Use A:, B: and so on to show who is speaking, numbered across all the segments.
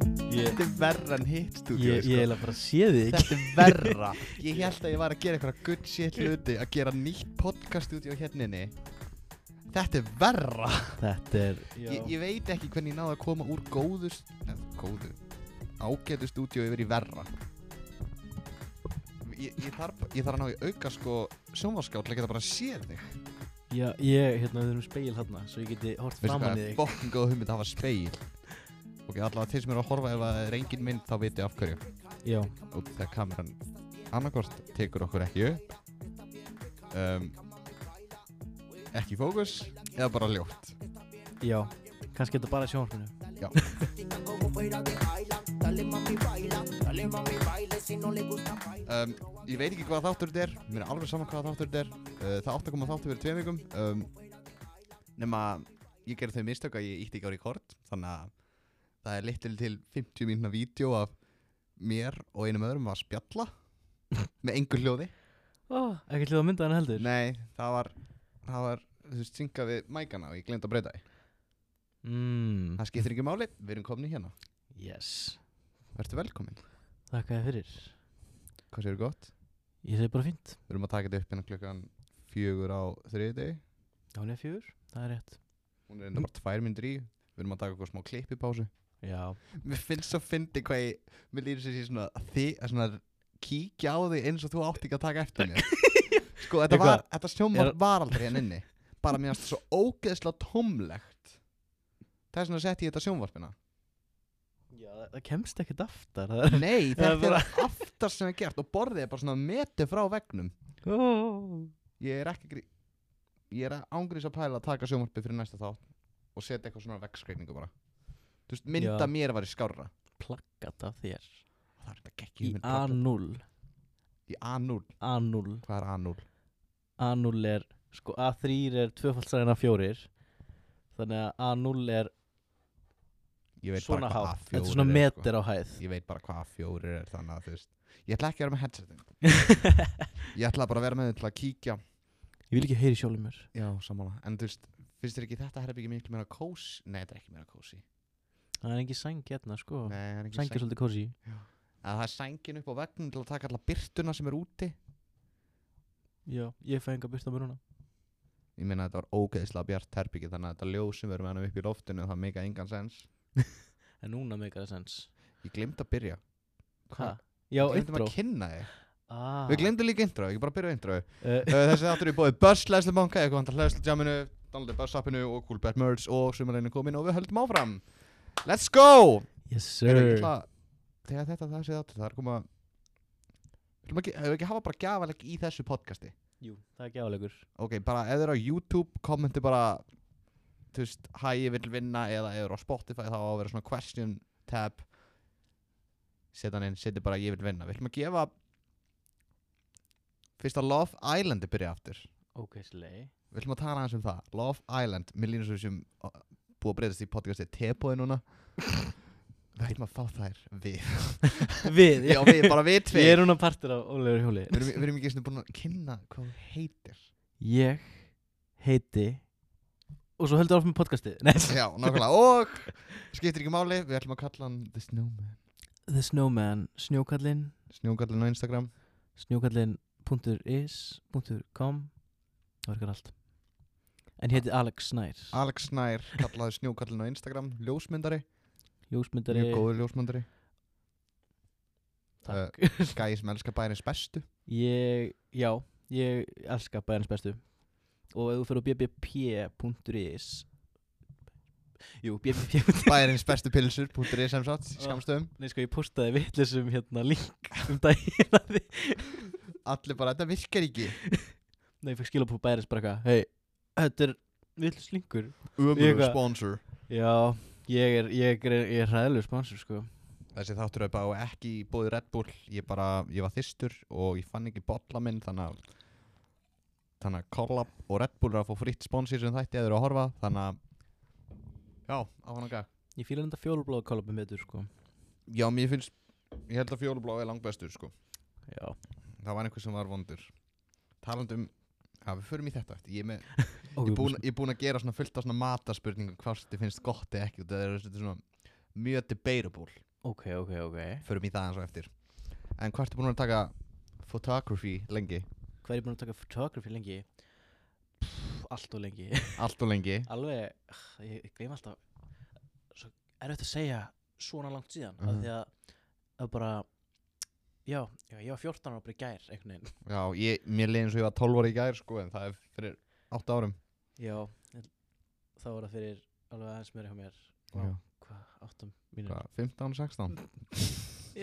A: þetta er verra en hitt stúdíu
B: Ég, ég
A: sko.
B: eiginlega bara sé þig ekki
A: Þetta er verra Ég held að ég var að gera eitthvað good shit hluti Að gera nýtt podcast stúdíu hérninni Þetta er verra
B: Þetta er
A: ég, ég veit ekki hvernig ég náði að koma úr góðu st- eh, Góðu Ágætu stúdíu yfir í verra Ég, ég, þarf, ég þarf að ná í auka sko sjónvarskál að geta bara að sé þig
B: Já, ég, hérna, við erum speil hérna Svo ég geti hort
A: Veistu
B: framan
A: hvað
B: í
A: er
B: þig
A: bókin góð hugmynd að hafa speil Ok, allavega til sem eru að horfa ef að það er engin mynd þá viti af hverju
B: Já,
A: út þegar kameran annarkort tekur okkur ekki upp um, ekki í fókus eða bara ljótt
B: já Kannski þetta bara sjónvarpinu
A: um, ég veit ekki hvað þáttur þetta er mér er alveg saman hvað þáttur þetta er uh, það átt að koma þáttur fyrir tveim vikum um, nema ég gerði þau mistök að ég ítti ekki á rekord þannig að það er litil til 50 mínuna vídeo af mér og einum öðrum að spjalla með engu hljóði
B: oh, Ekki hljóða mynda hann heldur
A: nei, það var það var, þú veist, syngað við mækana og ég glemt að breyta því
B: mm,
A: Það skiptir ekki máli, við erum komni hérna
B: Yes
A: Vertu velkomin
B: Þakka þér fyrir
A: Hvað séu gott?
B: Ég segi bara fínt
A: Við erum að taka þetta upp hérna klukkan fjögur á þriði degi
B: Já, hún er fjögur, það er rétt
A: Hún er enda bara tvær myndir í Við erum að taka eitthvað smá klipp í pásu
B: Já
A: Mér finnst svo fyndi hvað ég Mér lýður sér sér svona Þið er svona kíkja á þig eins og þú átt ekki að taka eftir mér Sko, þetta,
B: Eitthvað?
A: var, þetta sjómar
B: Er-
A: var aldrei hérna inni Bara mér finnst þetta svo ógeðslega tómlegt Það er svona að setja ég þetta sjónvarpina
B: Já, það, það kemst ekkert aftar Það er
A: Nei,
B: Það er
A: þetta er aftar sem er gert Og borðið er bara svona meti frá vegnum
B: oh.
A: ég er ekki grí- ég er ángrís að pæla að taka sjónvarpið fyrir næsta þátt og setja eitthvað svona vegskreiningu bara þú veist, mynda
B: Já.
A: mér var í skárra
B: Plakkat af þér
A: það er þetta gekk
B: Í A0
A: í A0,
B: A0
A: hvað er A0?
B: A0 er sko A3 er tvöfaldsræðina fjórir þannig að A0 er
A: ég veit
B: svona
A: bara hvað
B: hátt
A: A4
B: þetta er svona
A: er sko.
B: meter á hæð
A: ég veit bara hvað A4 er þannig að þú veist ég ætla ekki að vera með headsetin ég ætla bara að vera með þau til að kíkja
B: ég vil ekki heyri sjálfum mér
A: já, sammála, en þú veist finnst þér ekki þetta herfi ekki miklu meira kósi nei, þetta er ekki meira kósi
B: það er ekki sæng hérna sko
A: nei, það er ekki
B: sæng er
A: sæng
B: svolítið kósi
A: að það er sængin upp á vegna til að taka alla byrtuna sem er úti
B: já ég fæ enga byrta mér núna
A: ég meina þetta var ógeðslega bjart herbyggi þannig að þetta ljóð sem við erum hennum upp í loftinu það meika engan sens
B: en núna meikar það sens
A: ég glemt að byrja
B: Ha? já
A: Við glemdum
B: intro
A: að kynna þig
B: ah.
A: Við glemdum líka intro, ekki bara að byrja á intro
B: uh,
A: Uh, Þessi þáttur er bóðið Börs, Leslie Banka, eitthvað handla Leslie Jaminu Donaldi Börs appinu og Cool Bad Merge og sumarleginn er komin og við höldum áfram Let's go! Heyrðu, ég
B: yes sir
A: ætla að- Þegar þetta þessi þáttur það er koma Við ætlum ekki, hefur ekki hafa bara gjafaleg í þessu podcasti
B: jú það er gjálegur
A: Ok, bara ef þið eru á YouTube kommenti bara þú veist, hæ, ég vil vinna eða ef þið eru á Spotify þá á að vera svona question tab setja hann inn, setja bara ég vil vinna Við ætlum að gefa fyrst að Love Island er byrja aftur
B: ok slei
A: Við ætlum að tala aðeins um það Love Island, mér línur svo sem uh, búið að breytast í podcasti tebóði núna Við ætlum að fá þær við
B: við
A: Já, við, bara við
B: ég
A: tveir
B: er núna partur af Ólegur Hjóli
A: Við erum, við erum ekki einu sinni búin að kynna hvað hún heitir
B: ég heiti og svo heldur áfram með podcastið Nei.
A: Já, nákvæmlega Og skiptir ekki máli, við ætlum að kalla hann The Snowman
B: The Snowman snjókallinn
A: Snjókallin á Instagram
B: snjókallin.is.com það verkar allt en ég heiti Alex Snær
A: Alex Snær kallaði snjókallin á Instagram Ljósmyndari,
B: ljósmyndari
A: mjög góður ljósmyndari
B: takk
A: Skæði sem elskar bæðins bestu
B: ég, já, ég elska bæðins bestu og ef þú fyrir á bbp.is jú, bbp
A: Bæðins bestu pilsur, púntur í sem satt Skamstöðum,
B: nei sko, ég postaði vitlisum hérna link um daginn að því
A: allir bara, þetta virkar ekki
B: nei, ég fekk skilabóð bæðins bara eitthvað hei, þetta er vitlis linkur
A: Umur
B: Ég-
A: sponsor
B: já, ég er, ég er, ég er hræðilegur sponsor sko
A: Þessi þáttur er bara ekki búið Red Bull Ég bara, ég var þyrstur og ég fann ekki bolla minn Þannig að Þannig að Collab og Red Bull er að fá fritt sponsor sem þætti eða eru að horfa Þannig að Já, á hann að gæ
B: ég fýla þetta fjólblóða kollabum betur sko
A: Já, mér finnst Ég held að fjólublá er langbestur sko
B: já
A: Það var einhver sem var vondur Talandi um Já, við förum í þetta eftir Ég er með-
B: Ok,
A: ég er búinn- ég er búinn að gera svona fullt af svona mataspurningum Hvort þið finnst gott eða ekki og Það er svona mjög debatable
B: ok, ok, ok
A: förum í það eins og eftir en hvað ertu búin að taka photography lengi,
B: Hvað er ég búin að taka photography lengi? Pff, allt og lengi
A: allt og lengi
B: Alveg, ah, ég, ég gleym alltaf Svo er þetta að segja svona langt síðan uh
A: Mhm.
B: Því að, að bara Já, já, ég var 14 ára bara í gær einhvern veginn
A: já, ég, mér leiði eins og ég var 12 ára í gær sko, en það er fyrir 8 árum
B: Já, en þá var það fyrir alveg aðeins meira hjá mér Vá,
A: Já.
B: Hvað, áttum mínum
A: Hvað, 15, 16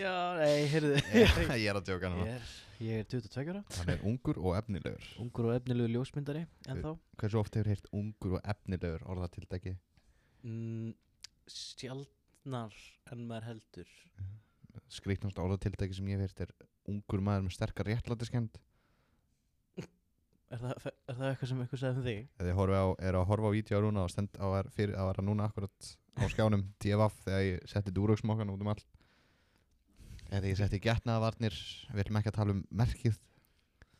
B: Já, nei, heyrðu
A: ég ég er að djóka
B: ég,
A: núna
B: er, ég er 22 ára
A: hann er ungur og efnilegur
B: Ungur og efnilegu ljósmyndari En þá
A: hversu oft hefur heyrt ungur og efnilegur orðatildæki
B: mm, Sjaldnar en maður heldur
A: skrítnast orðatildæki sem ég hef heyrt er ungur maður með sterkar réttlætiskend
B: Er það, fe- er það eitthvað sem eitthvað sagði um þig?
A: eða ég horfi á, er að horfa á vídeo núna og stend á að vera fyrir að vera núna akkurat á skjánum TFF þegar ég setti dúraugsmokkan út um allt eða ég setti getnaðavarnir við viljum ekki að tala um merkið við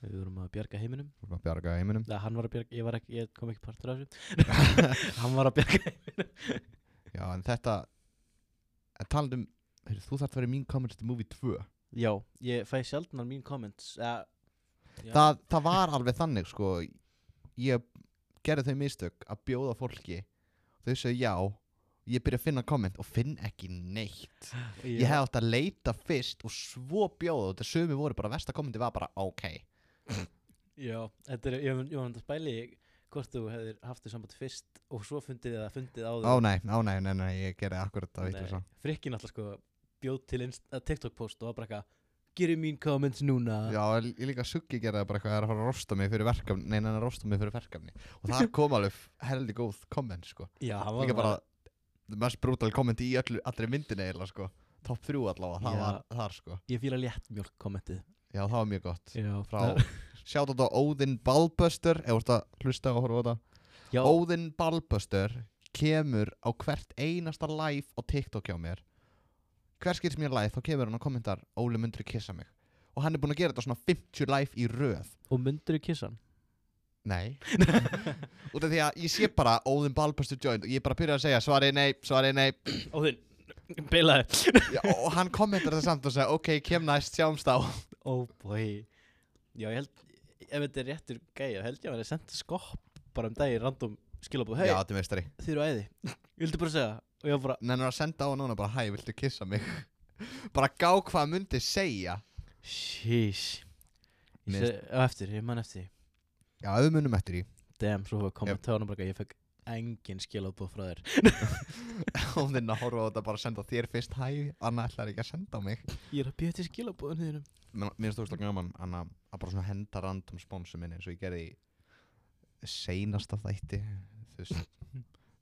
B: Við vorum að bjarga heiminum
A: viljum að bjarga heiminum
B: Nei, hann var að bjarga, ég, var ekki, ég kom ekki partur af þessu Hann var að bjarga
A: já en þetta en talandi um heyrðu, þú þarft að vera í mín communist movie 2
B: Já, ég fæ sjaldnar mín comments uh,
A: það, það var alveg þannig sko ég gerði þau mistök að bjóða fólki þau segja já ég byrja að finna komment og finn ekki neitt ég hef átt að leita fyrst og svo bjóða og þetta sömu voru bara versta kommenti var bara ok
B: Já, þetta er, ég var- ég var að spæli í hvort þú hefðir haft þau samband fyrst og svo fundið eða fundið áður
A: á nei, á nei, nei, nei, ég gerði akkurat það vitlega svo
B: Frikkin alltaf sko bjóð til inst, að TikTok post og var bara eitthvað Gerum mín comments núna
A: já, ég líka suggi gerði það bara eitthvað það er að fara að rosta mig fyrir verkefni nei, nei, nei, rosta mig fyrir verkefni og það kom alveg heldig góð komment sko
B: Já, hann var
A: líka bara the mest brutal komment í öllu, allri myndinni eiginlega sko top 3 allavega, það
B: Já.
A: var þar sko
B: Ég fýla léttmjólk kommentið
A: Já, það var mjög gott
B: Já,
A: Frá Sjátt á Óðinn Ballbuster Ef þú ert að hlusta og horfa á þetta
B: Já,
A: Óðinn Ballbuster kemur á hvert einasta live á TikTok hjá mér Hver skilt mér live þá kemur hann og kommentar Óli myndri kissa mig Og hann er búinn að gera þetta svona 50 live í röð
B: og myndirðu kissan
A: Nei Út af því að ég sé bara Óðinn Ballbuster joined Og ég bara byrja að segja svari nei, svari nei
B: Óðinn, beilaði
A: Já, Og hann kommentar það samt og segja Ok, kem næst, sjáumst á
B: Oh boy Já, ég held, ef þetta er réttur gæja held ég að vera senda skopp bara um dagi random skilabóð, hei,
A: Já, þetta er meistari
B: þið eru æði Ég vildi bara segja, og ég var bara,
A: Nennir að senda á hann núna bara Hæ, viltu kissa mig? bara gá hvað hann myndi segja
B: sheesh Ég
A: Mér-
B: sé, á eftir, ég man eftir því.
A: Já, ef við munum eftir því
B: Damn, svo hefur komið tónum bara, ég fekk engin skilabóð frá þér
A: Og þinn að horfa á þetta bara að senda þér fyrst hæ Annað ætlar ekki að senda á mig
B: Ég er að bjöða til skilabóðan þínum
A: Mér mér finnst þú veist gaman anna- að bara svona henda random sponsum minni eins og ég gerði í seinasta þætti þú veist,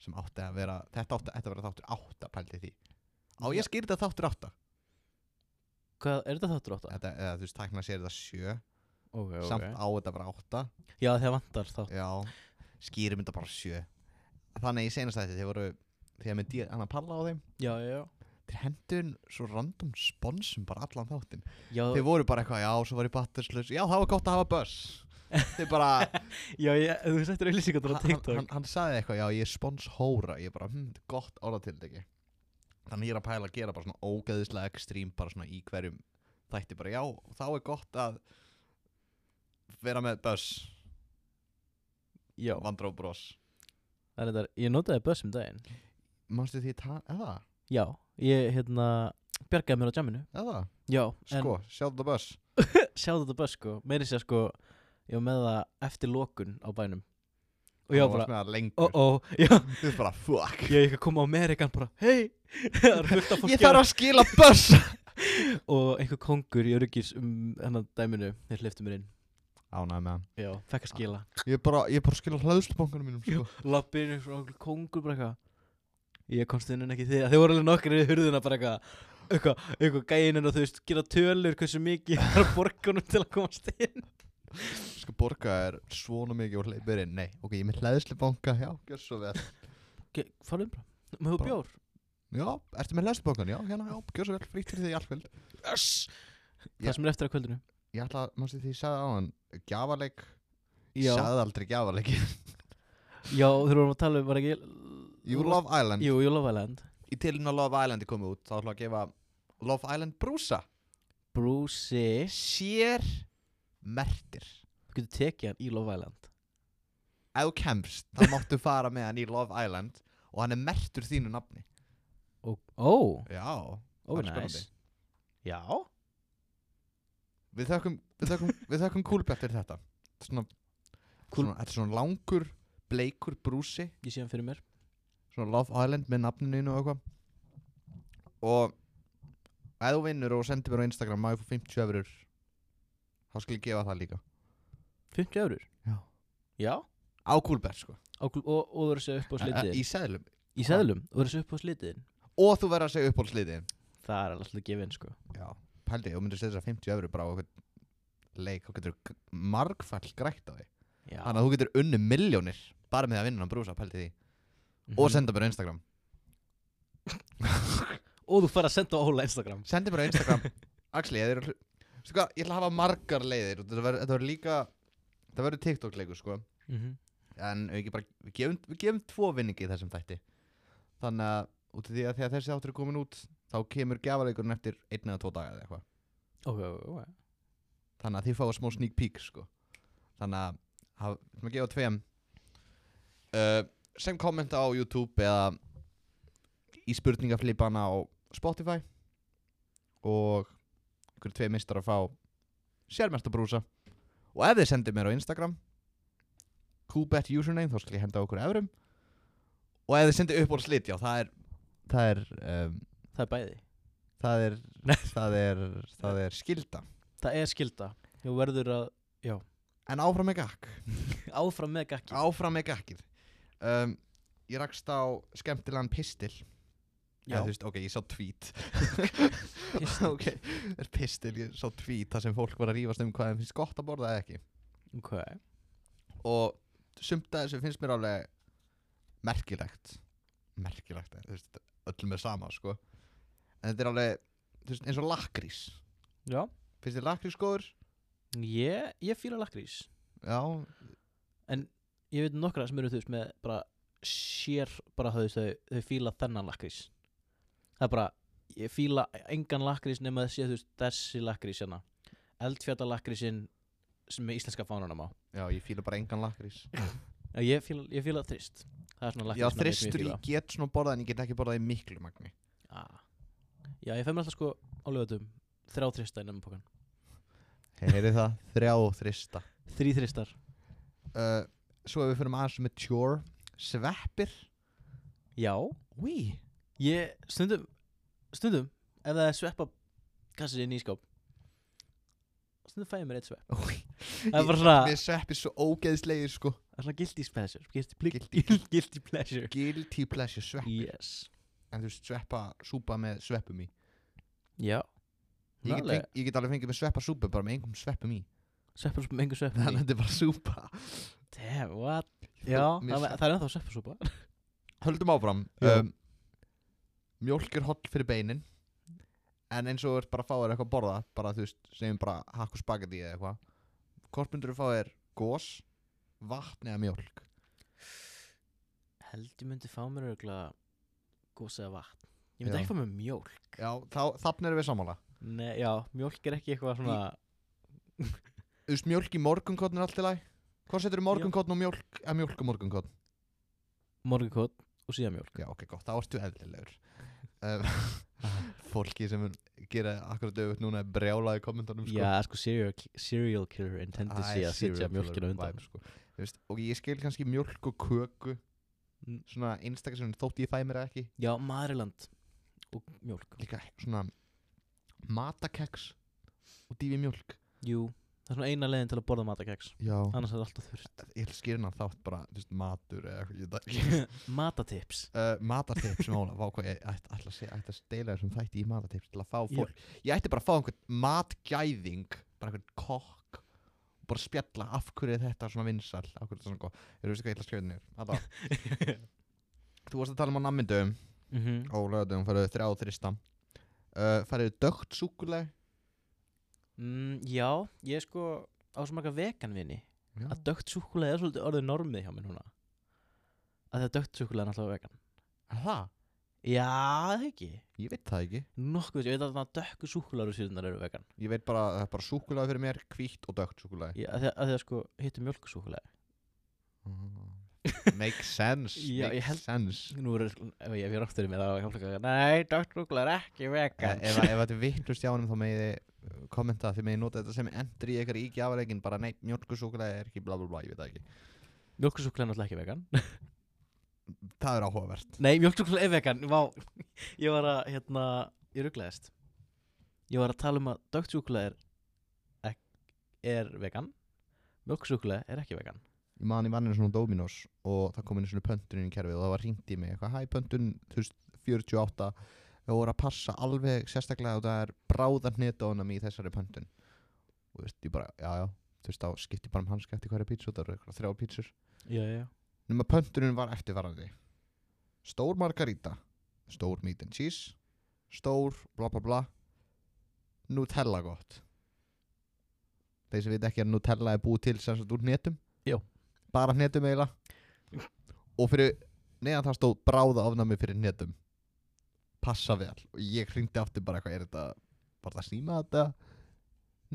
A: sem átti að vera þetta átti, þetta átti að vera þáttur átta pældi því Á
B: Já.
A: ég skýrði þetta þáttur átta
B: Hvað, er þetta þáttur átta?
A: þetta, eða, Þú veist, tækna sér þetta sjö
B: Ok, ok
A: Samt á þetta bara átta
B: Já, þegar vantar þátt
A: Já, skýrum þetta bara sjö Þannig í seinasta þætti þeir voru þegar með dýr annar palla á þeim
B: Já, já, já
A: þeir hendun svo random sponsum bara allan þáttinn
B: Já,
A: þeir voru bara eitthvað, já, svo var ég batterslaus já, það var gott að hafa buss þeir bara,
B: já, já, þú settir auðlýsingar á
A: hann,
B: TikTok
A: hann, hann sagði eitthvað já, ég er sponshóra, ég bara, hm, þetta er gott orðatildegi þannig ég er að pæla að gera bara svona ógeðislega ekstrím, bara svona í hverjum þætti bara, já, þá er gott að vera með buss,
B: Já,
A: vandró bros
B: það er þetta, ég notaði Buzz um daginn
A: manstu því, ta- eða,
B: Já, ég, hérna, bjargaði mér á jamminu
A: eða
B: Já,
A: sko, sjáðu þetta buss
B: en sjáðu þetta bara sko meiri sér sko, ég var með það eftir lokun á bænum og ég
A: Hann
B: var
A: varst
B: bara,
A: með það
B: ó
A: lengur,
B: ó já,
A: þú veist bara, fuck
B: ég ekki að koma á Amerikan bara, hei það er fullt af
A: ég
B: fólki
A: þarf að skila buss
B: að- og einhver kongur í öryggis um hennan dæminu, þeir hliftu mér inn
A: ánæg með hann
B: já, fekk að skila
A: Ég er bara, ég er bara að skila hlaðslubankanum mínum sko.
B: lappin, einhver kongur bara eitthvað ég komst inn en ekki þið þeir voru alveg nokkri í hurðina bara eitthvað eitthvað, eitthvað gæinn en þú veist, gera tölur hversu mikið það er borgunum til að komast inn
A: Ska borga er svona mikið og hleypir inn Nei, ok, ég er með hlaðslubanka, já, gjör svo vel
B: Ge- um farðu inn bara, maður
A: Bara-
B: bjór
A: Já, ertu með hlaðslubankan, já, hérna, já, gjör svo vel Frýtt fyrir því allkvöld
B: yes.
A: Já.
B: það sem er eftir að kvöldinu
A: Ég ætla, mannstu því, ég sagði á hann Gjafaleik,
B: Já,
A: sagði aldrei gjafaleik
B: já þeir vorum að tala um var ekki
A: You Love Island
B: Jú, Jú Love Island
A: Í tilinn að Love Island er komið út Þá ætla að gefa Love Island brúsa
B: Brucey
A: sér mertir
B: Þú getur tekið hann í Love Island
A: ef þú kemst, þá máttu fara með hann í Love Island og hann er mertur þínu nafni
B: Ó, oh,
A: já,
B: oh,
A: Það er
B: nice
A: spennandi.
B: Já
A: við þökkum við þökkum, við þökkum kúlbett fyrir þetta svona,
B: Kúl-
A: svona, þetta er svona langur bleikur brúsi,
B: Ég sé hann fyrir mér
A: svona Love Island með nafninu þínu og eitthvað og ef þú vinnur og sendir mér á Instagram má ég fá 50 öfrur þá skal ég gefa það líka
B: 50 eurur
A: Já.
B: Já
A: á kúlbett sko,
B: Á, kl- og, og þú verður að segja upp á
A: Eh, eh,
B: slitiðin
A: í seðlum
B: Í seðlum, þú verður að segja upp á slitiðin
A: og þú verður að segja uppáhaldsliðin
B: Það er alltaf gefinn sko
A: Já, pældi, þú myndir setja þess að 50 öfru bara á eitthvað leik, þá getur þú g- margfall grætt á því
B: Já
A: Þannig að þú getur unni miljónir bara með að vinna hann brúsa, pældi því
B: Mhm.
A: Og senda bara á Instagram
B: Og þú fara að senda á Óla Instagram
A: Sendi bara á Instagram Axli, ég er að hlu- Veistu hvað, ég ætla að hafa margar leiðir og Þetta verður þetta verður líka Það verður TikTok leikur, sko
B: mm -hmm.
A: En við, ekki bara, við, gefum, við gefum tvo vinningi í þessum þætti Þannig að út af því að þegar þessi áttur er komin út Þá kemur gjafaleikurinn eftir einn eða tvo daga eða eitthvað
B: Ok, ok, ok
A: þannig að þið fáið smá sneak peek sko. þannig að haf- við ætlum að gefa tveim uh, sem kommenta á YouTube eða í spurningaflipana á Spotify og ykkur tvei mistar að fá sérmesta brúsa og ef þið sendir mér á Instagram kubet username þá skal ég henda á okkur efrum og ef þið sendir upp á slit já það er það er um,
B: Það er bæði
A: það er það er, það er skilda
B: Það er skilda Þú verður að
A: en áfram með gakk
B: áfram með gakki
A: áfram með gakkið um, ég rakst á skemmtilegan pistil Eða,
B: Já,
A: þú veist, ok, ég sá tweet
B: Pistil.
A: ok, er pistil, ég sá tweet þar sem fólk var að rífast um hvað þeim finnst gott að borða eða ekki
B: ok
A: og sumt að þessu finnst mér alveg merkilegt merkilegt, eh, þú veist, öllum er sama sko, en þetta er alveg þú veist, eins og lakrís
B: Já
A: finnst þér lakrís góður?
B: Ég, ég fýla lakrís
A: já,
B: Ég veit nokkra sem eru þú veist með bara sér bara þú veist þau, þau fýla þennan lakrís Það er bara ég fýla engan lakrís nema þessi þú veist þessi lakrís hérna Eldfjata lakrísinn sem er íslenska fánanum á
A: já, ég fíla bara engan lakrís
B: Já, Ég fýla, ég fýla þrist Það er svona lakrís
A: já, þristur, ég get svona borðað en ég get ekki borðað í miklu magni
B: ah. Já, ég fæ mér alltaf sko á lögatum þrjá þrista í nefnum pokan
A: heyrið það, þrjá þrista
B: Þrý þristar
A: uh, Svo ef við fyrir aðeins með tjór Sveppir
B: Já
A: Ví
B: Ég, stundum, stundum, ef það er sveppa kassið inn í skáp Stundum fæði mér eitt svepp Það er bara svona,
A: Mér er sveppir svo ógeðslegir sko
B: það er svona guilty pleasure Guilty,
A: Guilty-
B: guilty, guilty pleasure
A: Guilty pleasure sveppir
B: Yes
A: En þú veist sveppa súpa með sveppum í
B: Já
A: ég get,
B: Nálega.
A: feng, ég get alveg fengið með sveppa súpa bara með engum sveppum í
B: Sveppur sem engu svepp
A: Þannig að þetta er bara súpa
B: Damn, what? Já,
A: mér
B: það,
A: svepp-
B: það er ennþá sveppasúpa
A: Höldum áfram
B: Já.
A: um, Mjólk er holl fyrir beinin En eins og þú ert bara að fá þér eitthvað að borða Bara þú veist, segjum bara hakk og spagetti eða eitthvað Hvort myndur þú fá þér gós, vatn eða mjólk
B: Held ég myndi fá mér örgulega gósa eða vatn Ég myndi
A: Já.
B: ekki fá mér mjólk
A: Já, þá, þannig erum við sammála
B: Nei, já, mjólk er ekki eitthvað svona
A: Þú veist, mjölk í morgunkotn er allt í lagi Hvað setur morgunkotn og mjölk eða mjölk og morgunkotn?
B: morgunkot og síðan mjólk
A: Já, ok, gott, þá ertu eðlilegur um, Fólki sem gera akkurat auðvitað núna er brjálað í kommentunum sko.
B: Já, sko, serial, serial killer
A: Það
B: intended
A: er
B: sé að
A: serial
B: sitja
A: killer
B: mjölkina undan
A: vibe, sko. Þú veist, Og ég skil kannski mjölk og köku
B: Mm.
A: Svona einstakar sem þótt ég fæ mér það ekki
B: Já, Maryland og mjólk
A: Líka svona matakeks og dýfi mjölk
B: Jú, það er svona eina leiðin til að borða matakeks
A: Já,
B: Annars er það alltaf þurft
A: ég ætla að skýrna þátt bara, þú veist, matur eða eitthvað, ég veit það ekki
B: Matatips
A: uh, matatips sem Óla, vá hvað ég ætti ætla að, segja- ætla að deila þessum þætti í matatips til að fá fólk, ég ætti bara að fá einhvern matgæðing, bara einhvern kokk og bara spjalla af hverju er þetta svona vinsal, af hverju er þetta svona gott ég veist hvað ég ætla að skrifa niður, alltaf þú varst að tala um á nammyndum
B: mm -hmm.
A: og lögadum, færðu þrjá og þrista uh, færðu dögt súkuleg
B: mm, Já, ég er sko á svo marga veganvinni
A: Já.
B: Að dögt súkulega er svolítið orðið normið hjá mér núna Að það dögt súkulega er alltaf vegan
A: það,
B: Já, það ekki
A: Ég veit það ekki
B: Nokkuð, ég veit að það dökku súkular eru vegan
A: Ég veit bara, það er bara súkulaði fyrir mér, hvítt og dögt súkulaði
B: Já, að því að, að því að sko hittu mjölkusúkulega
A: Make sense,
B: Já, ég
A: make
B: held-
A: sense
B: Nú er, ef ég, ef ég ráttur í mig þá er ég að fólk að Nei, dökkusúkulega er ekki
A: Eh,
B: vegan
A: Ef ef þetta er vittlust hjá honum þá megið þið uh, kommenta Þið megið nota þetta sem endri í ykkar ígjafalegin Bara neitt mjölkusúkulaði er ekki bla bla bla, ég veit það ekki
B: Mjölkusúkulega er náttúrulega ekki vegan
A: Það er áhugavert
B: Nei, mjölksúkulega er vegan Vá, ég var að, hérna, ég rugglaðist Ég var að tala um að dökksúkulega er, ek- er vegan Mjölksúkulega er ekki vegan
A: Ég man í vanninu svona Dominos og það kom inn svona pöntun inn í kerfið og það var hringt í mig eitthvað, hæ pöntun, þú veist, 48 við voru að passa alveg sérstaklega og það er bráðan hnedónum í þessari pöntun og þú veist, ég bara, já, já þú veist, þá skipti ég bara um hanska eftir hverja pítsu og það eru eitthvað þrjá pítsur
B: Já, já
A: nema pöntunin var eftirfarandi stór margarita stór meat and cheese stór bla bla bla Nutella gott þeir sem veit ekki að Nutella er búið til sem sagt úr hnetum
B: Jó.
A: bara hnetum eiginlega og fyrir neðan það stóð bráða ofnami fyrir hnetum passa vel og ég hringdi aftur bara eitthvað er þetta var það að síma þetta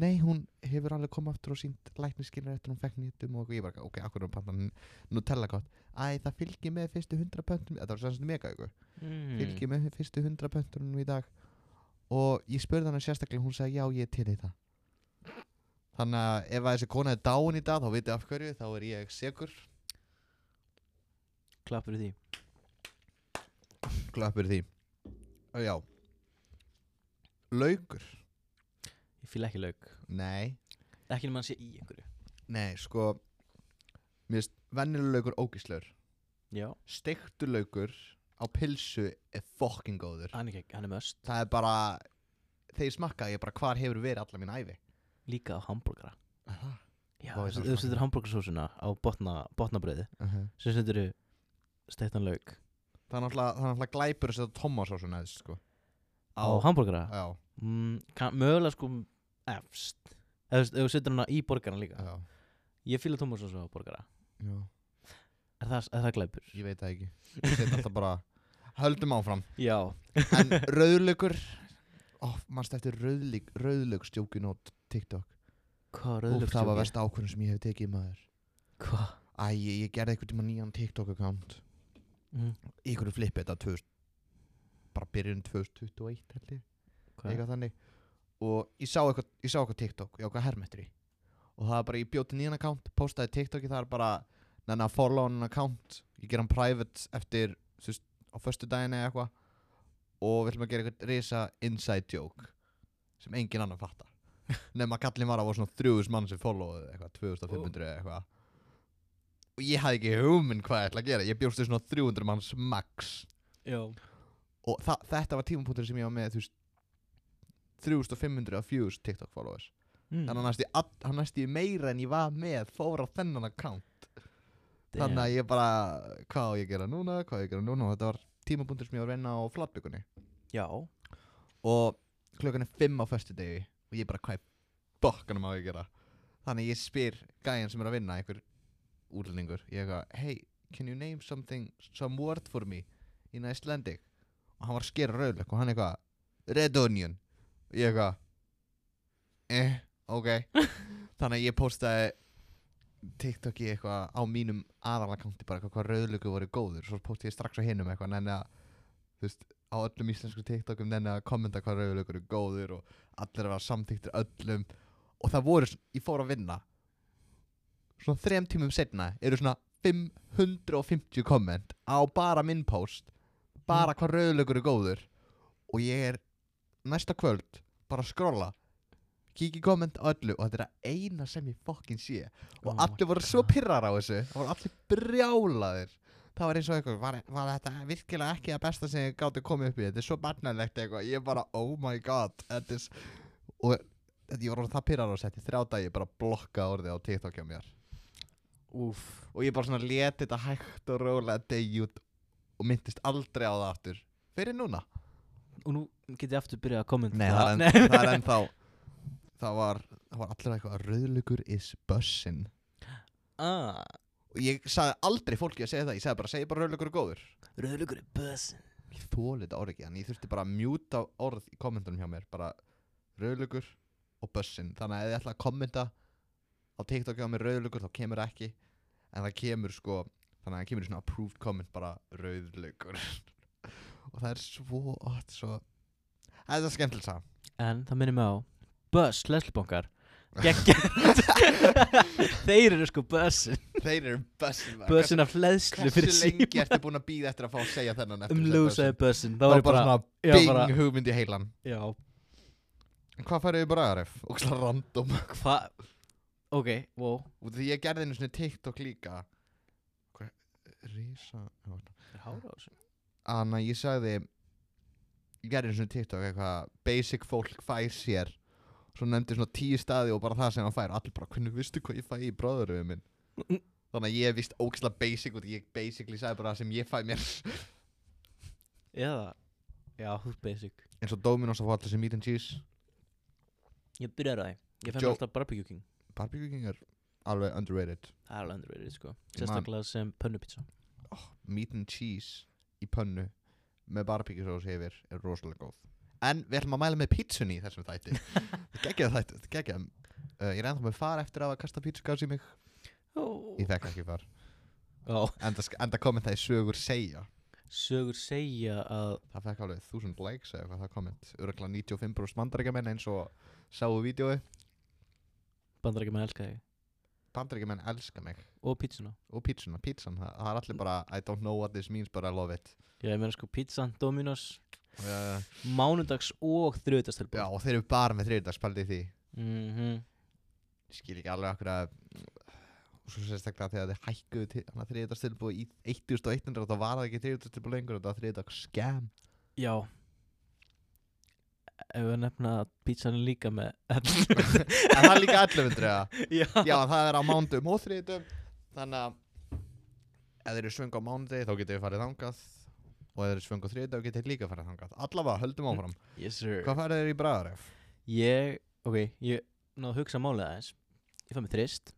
A: nei hún hefur alveg komið aftur og sínt lækniskilur eftir hún fekk hnetum og ég bara ok, akkur er hún pantan Nutella gott Æ, það fylgir með fyrstu hundra pöntunum Þetta var sem sagt mega ykkur
B: mm.
A: Fylgir með fyrstu hundra pöntunum í dag Og ég spurði hana sérstaklega Hún sagði já, ég er til í það Þannig að ef að þessi kona er dáin í dag Þá vitið af hverju, þá er ég segur
B: Klappur í því
A: Klappur því Og já Laukur
B: Ég fíla ekki lauk
A: Nei,
B: Ekki nema hann sé í einhverju
A: nei, sko Mér finnst vennilega laukur ógisleur
B: Já
A: Steiktur laukur á pilsu er fucking góður
B: Hann er, ekki, hann er möst
A: það er bara þegar ég smakka ég bara hvar hefur verið alla mín æfi
B: Líka á hambúrgara Já,
A: Vá, ég þarf að
B: þú
A: smakka.
B: setur hambúrgarsósuna á botna, botnabröði Svo setur þú steittan lauk
A: það er náttúrulega, það er náttúrulega glæpur að setja Thomas á svona neðst sko
B: Á hambúrgara
A: já,
B: mm, kann, Mögulega sko efst Eða þú veist, ef þú setur hana í borgarna líka
A: já,
B: Ég fíla tómasósu á borgara
A: já,
B: Er það, er það glæpur?
A: ég veit það ekki ég setja alltaf bara höldum áfram
B: Já
A: en rauðlaukur ó, mannst eftir rauðlauk rauðlaukstjókin á TikTok
B: Hvað er
A: Úf,
B: rauðlauk
A: það var versta ákvörðun sem ég hef tekið maður
B: Hvað?
A: Æ, ég, ég gerði eitthvað tíma nýjan TikTok account
B: Mm.
A: í einhverju flippi þetta 2000 bara byrjun 2021 held ég
B: Hvað?
A: eitthvað þannig og ég sá eitthvað, ég sá eitthvað TikTok ég ákvað hermetri og það er bara, ég bjóti nýjan account postaði TikTok í það er bara þannig að follow hann account ég ger hann private eftir þú veist, á föstu daginn eða eitthvað og við ætlum að gera eitthvað risa inside joke sem engin annar fattar nema kallin var að voru svona 3000 mann sem followðu eitthvað 2500 eða eitthvað og ég hafði ekki hugminn hvað ég ætla að gera ég bjóst við svona 300 manns max
B: Já
A: og þa- þetta var tímapunktur sem ég var með þú veist 3500 að 4000 TikTok followers
B: mm.
A: þannig að næst ég all- hann næst ég meira en ég var með fór á þennan account þannig að ég bara, hvað á ég að gera núna hvað á ég að gera núna og þetta var tímapunktur sem ég var að reyna á flatbyggunni
B: Já
A: og klukkan er 5 á föstudegi og ég bara, hvað í bokkanum á ég að gera þannig að ég spyr gæjan sem er að vinna einhver útlendingur ég eitthvað, hey, can you name something some word for me in Icelandic og hann var að skera rauðleik og hann eitthvað, red onion og ég eitthvað eh, ok þannig að ég postaði TikTok í eitthvað á mínum aðalakanti bara eitthvað hvað rauðleiku voru góður svo postaði ég strax á hinum eitthvað en að þú veist, á öllum íslensku TikTokum nenni að kommenta hvað rauðleikur er góður og allir að vera samþyktir öllum og það voru, svona- ég fór að vinna svona þrem tímum setna eru svona 550 komment á bara minn post bara hvað rauðleikur er góður og ég er næsta kvöld bara að skrolla kíkja í komment á öllu og þetta er að eina sem ég fokkin sé og
B: Oh my
A: allir voru svo
B: God.
A: pirrar á þessu það voru allir brjálaðir það var eins og eitthvað, var, var þetta virkilega ekki að besta sem ég gáti komið upp í, þetta er svo barnalegt eitthvað, ég bara, oh my god þetta er, s- og þetta, ég var orðinn það pyrrar á sett í þrjá dag, ég bara blokka orðið á TikTok hjá mér
B: Úf
A: og ég bara svona leti þetta hægt og rólega degi út og myndist aldrei á það aftur, fyrir núna
B: Og nú get ég aftur byrjað að kommenta
A: Nei, það er, en, það er ennþá það var, það var allir eitthvað að rauðlugur is bussin
B: ah,
A: og ég sagði aldrei fólki að segja það, ég sagði bara, segi bara rauðlugur er góður
B: Rauðlaukur er bössin
A: ég þóli þetta orð ekki þannig ég þurfti bara að mjúta orð í kommentunum hjá mér bara rauðlugur og bussinn þannig að ef ég ætla að kommenta á TikTok hjá mér rauðlugur þá kemur það ekki en það kemur sko þannig að það kemur í svona approved comment bara rauðlugur og það er svo ótt svo það er skemmtilegt sá
B: En það minnir mig á Buzz, Leslebongar Þeir eru sko buzzin
A: þeir eru bussinn
B: Buzzin af hleðslu
A: hversu
B: fyrir
A: lengi
B: síma
A: ertu búin að býða eftir að fá að segja þennan eftir
B: Um
A: þessa
B: lúsaði buzzin
A: buzzin?
B: Það
A: það
B: var
A: var bara svona
B: ég
A: bing
B: bara-
A: hugmynd í heilan
B: Já,
A: En Hvað færðu í bragðaref? Og slá random
B: hvað Ok, wow
A: Út af því ég gerði einu svona TikTok líka Hvað? Rísa
B: Hára á þessu
A: Anna, Ah, ég sagði Ég gerði einu svona TikTok eitthvað Basic fólk fær sér Svo nefndi svona tíu staði og bara það sem hann fær Og Allir bara, hvernig veistu hvað ég fæ í bragðarefið minn? Þannig að ég er vist óksla basic og ég basically sagði bara það sem ég fæ mér
B: Eða Já, þú ert basic
A: eins og Dominos að fá allir sem meat and cheese
B: Ég byrjar á því Ég fæ mér
A: Joe-
B: alltaf barbecue king
A: Barbecue King er alveg underrated
B: Það er alveg underrated sko
A: man.
B: Sérstaklega sem pönnupizza
A: meat and cheese í pönnu með barbecue sós yfir er rosalega góð en við ætlum að mæla með pítsunni í þessum þætti geggjað þætti, þetta er geggjað uh, ég er ennþá með far eftir að hafa kasta pítsugas í mig
B: Ó
A: ég þekk ekki far
B: Já
A: enda, enda komið það í sögur segja
B: Sögur segja að
A: það fekk alveg 1000 likes eða hvað það komið öruglega 95% bandaríkjamenn eins og sáu vídjói
B: bandar ekki með elska þig
A: bandaríkjamenn elska mig
B: Og pizzuna
A: og pítsuna, pítsan, það, það er allir bara I don't know what this means but I love it
B: Já, ég meina sko pizzan, Dominos
A: uh,
B: Mánudags og þrjóðastelbúð
A: já og þeir eru bara með þriðdagspaldið því
B: mm
A: Ég skil ekki alveg okkur að og svo sérstaklega þegar þið hækkuðu þriðdagstilbúi í 1100 þá var það ekki þriðdagstilbúi lengur þetta var þriðdags skam
B: Já Ef við nefna að pítsan er líka með
A: en það er líka 1100 eða?
B: Já,
A: já en það er á mándum og þriðdum þannig að ef þeir eru svöng á mándi þá getur við farið þangað og ef þeir eru svöng á þriðdag þá getur við líka farið þangað allavega höldum áfram
B: Yes sir
A: hvað farið þeir í bræðaref?
B: Ég, ok, ég náðu að hugsa málið aðeins Ég fann með þrist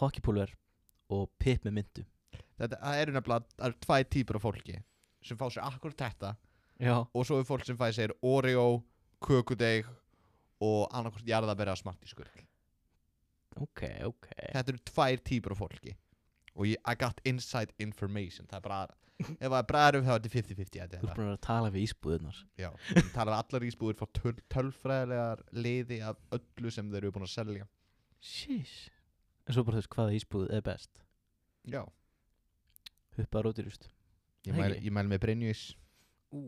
B: Hockeypulver og pip með myndu
A: Þetta, það eru nefnilega það eru tvæ típur af fólki sem fá sér akkur þetta
B: Já
A: og svo er fólk sem fæ sér Oreo, kökudeig og annarkort jarðabera smatti skurk
B: Ok, ok
A: þetta eru tvær típur af fólki og ég, I got inside information það er bara, ef það er bræðaröf þá er þetta 50-50 þetta er
B: Þú ert
A: það.
B: búin að vera að tala við ísbúðunar
A: Já, það talar allar ísbúður frá töl, tölfræðilegar liði af öllu sem þeir eru búin að selja
B: Sheesh En svo bara þú veist hvaða ísbúð er best
A: já,
B: Huppa rótirust
A: ég
B: Það
A: mæli,
B: ekki.
A: ég mæli með Brynjus
B: Ú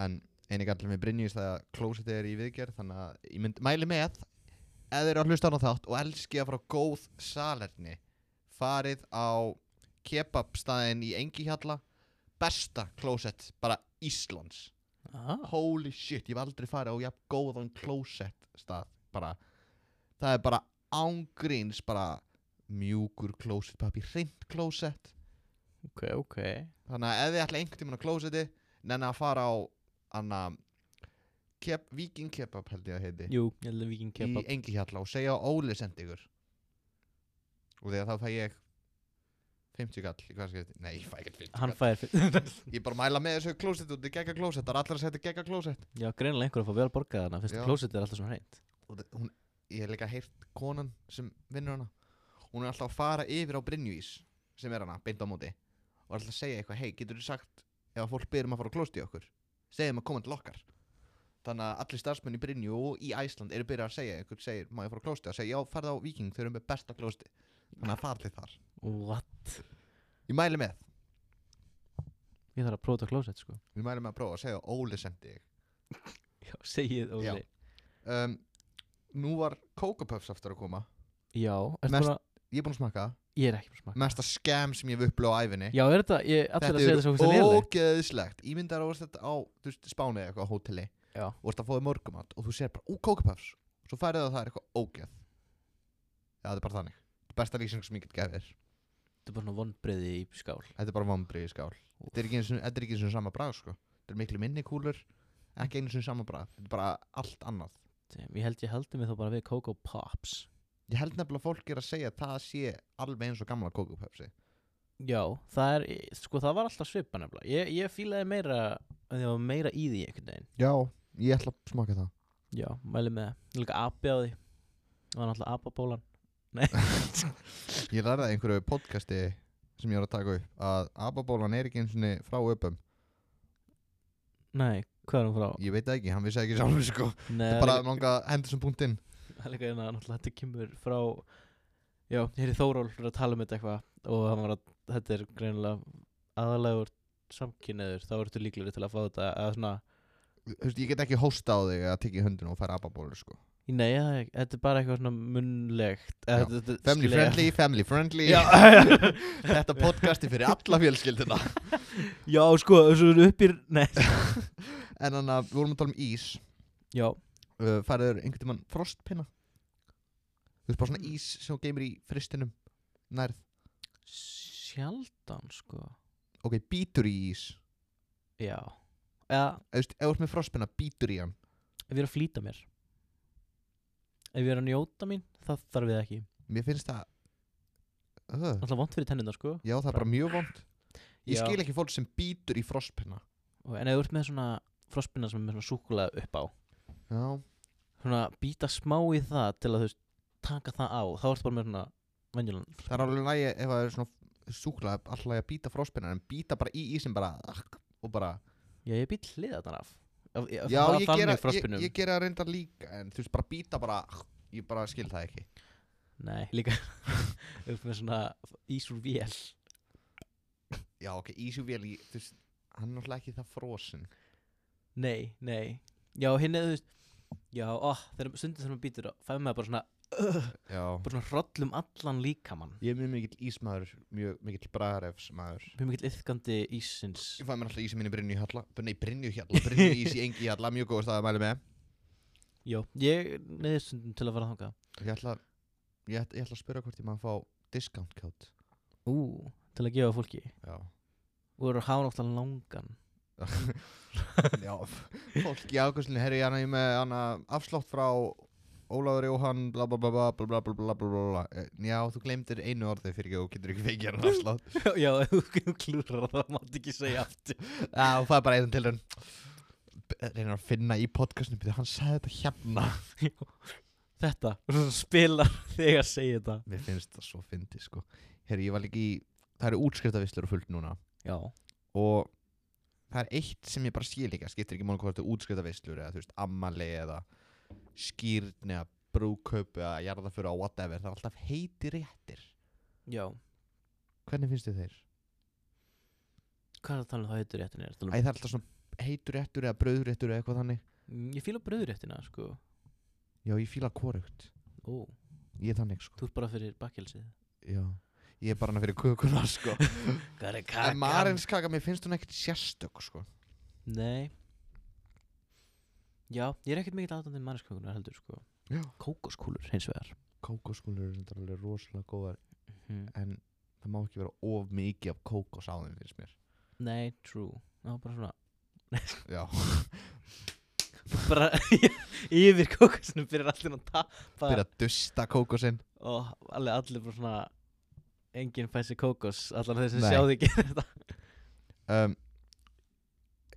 A: en eini allir með Brynjus það að klósitið er í viðgerð þannig að ég mynd, mæli með ef þeir eru að hlusta á þátt og elski að fara á góð salerni farið á kebabstaðin í Engihjalla besta klósett bara Íslands
B: ah.
A: holy shit, ég hef aldrei farið á jafn góðan klósett stað bara, það er bara ángríns bara mjúkur klósett pappir, hreint klósett
B: Ok, ok
A: þannig að ef þið ætla einhvern tímann á klósetti nenni að fara á anna, kep, Viking Kebab held ég að heiti
B: Jú, ég held að viking
A: í
B: kebab
A: Engihjalla og segja að Óli sendi ykkur og þegar þá fæ ég 50 kall í hvað skipti, nei ég fæ ekki 50
B: Hann
A: kall
B: fær fyrir
A: ég bara mæla með þessu klósett og þetta er gegga klósett, það er allar að setja gegga klósett
B: Já, greinilega einhver að fá vel borgað hana Fyrst
A: Já.
B: að klósett er alltaf svona hreint
A: og þe- hún, ég hef líka heyrt konan sem vinnur hana hún er alltaf að fara yfir á Brynjúís sem er hana, beint á móti og er alltaf að segja eitthvað, hei, getur þú sagt ef að fólk byrjum að fara á klósti okkur segjum að koma til okkar þannig að allir starfsmenn í Brynjú og í Æsland eru byrjað að segja, einhvern segir, má ég fara á klósti og segja, já, farð á Viking, þau eru með besta klósti þannig að farði þar,
B: What?
A: ég mæli með
B: Ég þarf að prófa klósett sko
A: ég mæli með að prófa að segja, Óli sendi ég
B: Já, segið og
A: Já.
B: leið.
A: um, nú var Coco Puffs aftur að koma
B: Já, ertu
A: Mest-
B: búin að
A: ég er búin að smakka, það.
B: Ég er ekki búin að smakka
A: mesta skam sem ég hef upplöð á æfinni
B: Já, er þetta, ég allir að
A: Þetta
B: segja
A: er
B: þetta svo fyrst að leiðlega
A: ógeðislegt Ímyndar á þetta á þú veist, Spáni eða eitthvað á hóteli
B: Já.
A: og ert að fóði morgumat og þú sér bara, ú, kókupuffs svo færið það að það er eitthvað ógeð Já, það er bara þannig Besta lýsing sem ég get gefið þér.
B: Þetta er bara svona vonbreiði í skál
A: Þetta er bara vombrið í skál Þetta er ekki einu sinni- þetta er ekki eins og sama bragð, sko Þetta er miklu minni kúlur Ekki einu og sama bragð Þetta er bara allt annað
B: Damn, Ég held ég haldi mig þó bara við Coco Pops
A: Ég held nefnilega að fólk er að segja að það sé alveg eins og gamla kókupuffsi
B: Já, það er, sko það var alltaf svipa nefnilega Ég, ég fílaði meira, að ég var meira í því einhvern veginn
A: Já, ég ætla að smaka það
B: Já, mæli með það Líka api á því Það var náttúrulega apabólan
A: Ég lærði það í einhverju podcasti sem ég var að taka upp að ababólan er ekki eins og frá öpum
B: Nei, hvað er hún frá?
A: Ég veit það ekki, hann vissi það ekki sjálfur sko
B: Nei,
A: Það er bara langa að henda þessum punktinn
B: Það er líka eina, náttúrulega þetta kemur frá Já, ég heyrði Þóról fyrir að tala um þetta eitthvað og hann var að, þetta er greinilega aðalegur samkynniður þá ertu líklegri til að fá þetta eða svona,
A: Þú veist, ég get ekki hósta á þig að tekja í höndinu og færa ababólur sko
B: nei, það er- þetta er bara eitthvað svona munnlegt eða
A: Já,
B: þetta- þetta-
A: Family
B: slega.
A: friendly, family friendly
B: Já,
A: Þetta podcasti fyrir alla fjölskyldina
B: já, sko, þessu eru uppir Nei
A: En þannig að við vorum að tala um ís
B: Já,
A: uh, Færiður einhvern tímann frostpinna Þú veist bara svona ís sem þú geymir í fristinum Nærð
B: sjaldan, sko
A: Ok, bítur í ís
B: Já Eða,
A: Þú veist, ef þú ert með frostpinna, bítur í hann
B: ef ég er að flýta mér Ef ég er að njóta mín, það þarf ég það ekki
A: Mér finnst það uh,
B: Alltaf vont fyrir tennina, sko
A: Já, það er bara mjög vond Ég
B: Já.
A: skil ekki fólk sem bítur í frostpinna
B: og, En ef þú ert með svona frostbinna sem er með svona súkulega upp á
A: Já,
B: Svona býta smá í það til að þú veist taka það á Þá ertu bara með svona venjulan
A: það er alveg lægi ef það er svona súkla alltaf að bíta frostpinna en bíta bara í ísin bara akk, og bara
B: Já, ég být hliða þarna af Af- af-
A: Já,
B: bara
A: ég
B: þannig
A: gera, ég,
B: frostspinnum.
A: ég gera reynda líka en þú veist bara býta bara akk, ég bara skil það ekki
B: Nei, líka upp með svona ísúr vél
A: Já, ok, ísjúvél í þú veist hann er náttúrulega ekki það frosin
B: Nei, nei Já, hinn er þú veist Já, ó, þegar stundum þegar maður býtur þá fæði maður bara svona,
A: Já
B: bara svona rollum allan líkamann
A: Ég er mjög mikill ísmaður, mjög mikill bræðarefsmaður
B: Mjög mikill yfkandi ísins
A: Ég fæði mér alltaf ísi mínu brinju hjalla Nei, brinju hjalla, brinju í engi hjalla Mjög góð staðið að mæli með
B: Já, ég neður stundum til að fara þangað
A: Ég ætla, ég, ætla, ég ætla að spyrja hvort ég maður fá discount code
B: Ú, til að gefa fólki
A: Já
B: og eru að hafa náttúrulega langan
A: Já, fólk í ákvæmslinni herri hana ég er með hana afslátt frá Ólafur Jóhann bla bla bla bla bla bla bla bla bla bla bla Eh, Já, þú glemdir einu orði fyrir ekki og getur ekki fengið hann afslátt
B: Já, ef þú klúrar það mátt ekki segja aftur
A: Já, og það er bara einn til hann reynir að finna í podcastinu byrja, hann sagði þetta hérna
B: Þetta, og svo spilar þegar að segja þetta
A: Mér finnst það svo fyndi sko Herri, ég var líka í, það eru útskriftavislur og fullt núna
B: Já,
A: og það er eitt sem ég bara skil ekki að skiptir ekki máli hvort þetta útskriftavislur eða þú veist ammali eða skýrn eða brúkaup eða jarðaföru á whatever það er alltaf heiti réttir
B: já
A: hvernig finnst þið þeir?
B: Hvað er það að tala um það heitur réttin er?
A: Æ, það er alltaf svona heitur réttur eða brauður réttur eða eitthvað þannig
B: Mm, Ég fíla bröðuréttina, sko
A: já ég fíla korugt
B: Ó,
A: ég er þannig sko
B: þú ert bara fyrir bakkelsið
A: já ég er bara hana fyrir kukuna sko
B: Hvað er
A: en marins kaka mér finnst hún ekkert sérstök sko
B: Nei Já, ég er ekkert mikill aðdóndin manneskökunar heldur sko
A: já
B: Kókoskúlur hins vegar
A: kókoskulur er þetta alveg rosalega góðar
B: mm.
A: en það má ekki vera of mikið af kókos á þeim finnst mér
B: Nei, true Það var bara svona
A: já
B: bara yfir kókosnum byrjar allir að tappa
A: byrja að dusta kókosinn
B: og allir, allir bara svona enginn fæsi kókos allar þeir sem
A: Nei.
B: sjá þig gera þetta
A: um,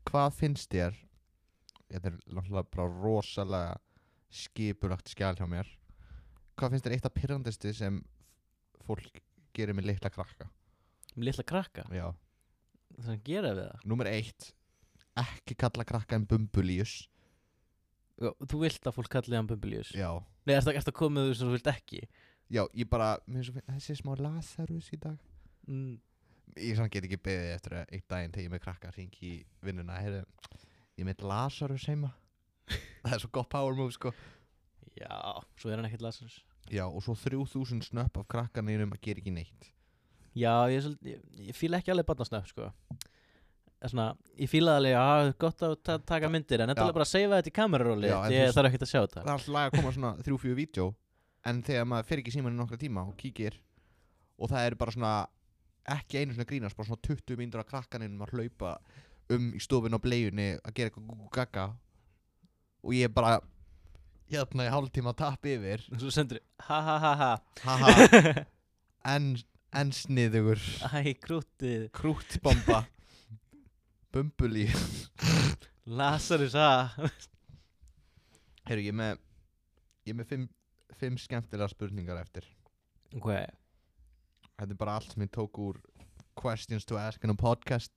A: hvað finnst þér þetta er náttúrulega bara rosalega skipulagt skjál hjá mér hvað finnst þér eitt af pyrrandisti sem fólk gerir með litla krakka
B: um litla krakka
A: já,
B: það sem gera við það
A: nummer eitt ekki kalla krakka en bumbulíus
B: Já, þú vilt að fólk kalli hann Bumbilius
A: já,
B: Nei, ertu ertu að koma með þú sem þú vilt ekki
A: já, ég bara mér finnst svo finn- þessi er smá Lazarus í dag
B: mm.
A: ég sann get ekki beðið eftir að eitt daginn þegar ég með krakka hringi í vinnuna heyrðu, ég er með Lazarus heima það er svo gott power move sko
B: Já, svo er hann ekkert lasans
A: Já, og svo 3000 snöpp af krakkaneinum að gera ekki neitt.
B: Já, ég, er svolítið- ég, ég fíla ekki alveg barnasnöpp sko. Það er Svona, ég fíla alveg að gott að ta taka myndir en þetta
A: Já.
B: er bara að seifa þetta í kameruróli
A: Já, en þú
B: ég
A: veist-
B: þarf ekkert að sjá þetta
A: Það er alltaf lag að koma svona 3-4 vídeo, en þegar maður fer ekki síman í nokkra tíma og kíkir, og það eru bara svona, ekki einu svona grínast, bara svona 20 myndur af krakkaneinum að hlaupa um í stofun og bleiunni að gera eitthvað gúgú gaga, og ég er bara, hérna í hálftíma að tappa yfir,
B: Svo sendur, ha ha ha ha
A: haha, en en sniðugur
B: Æ, krútið
A: krútbomba bumbulí
B: Lazarus A
A: Herru, ég er með ég er með fimm, fimm skemmtilega spurningar eftir
B: Ok
A: Þetta er bara allt sem ég tók úr questions to ask in a podcast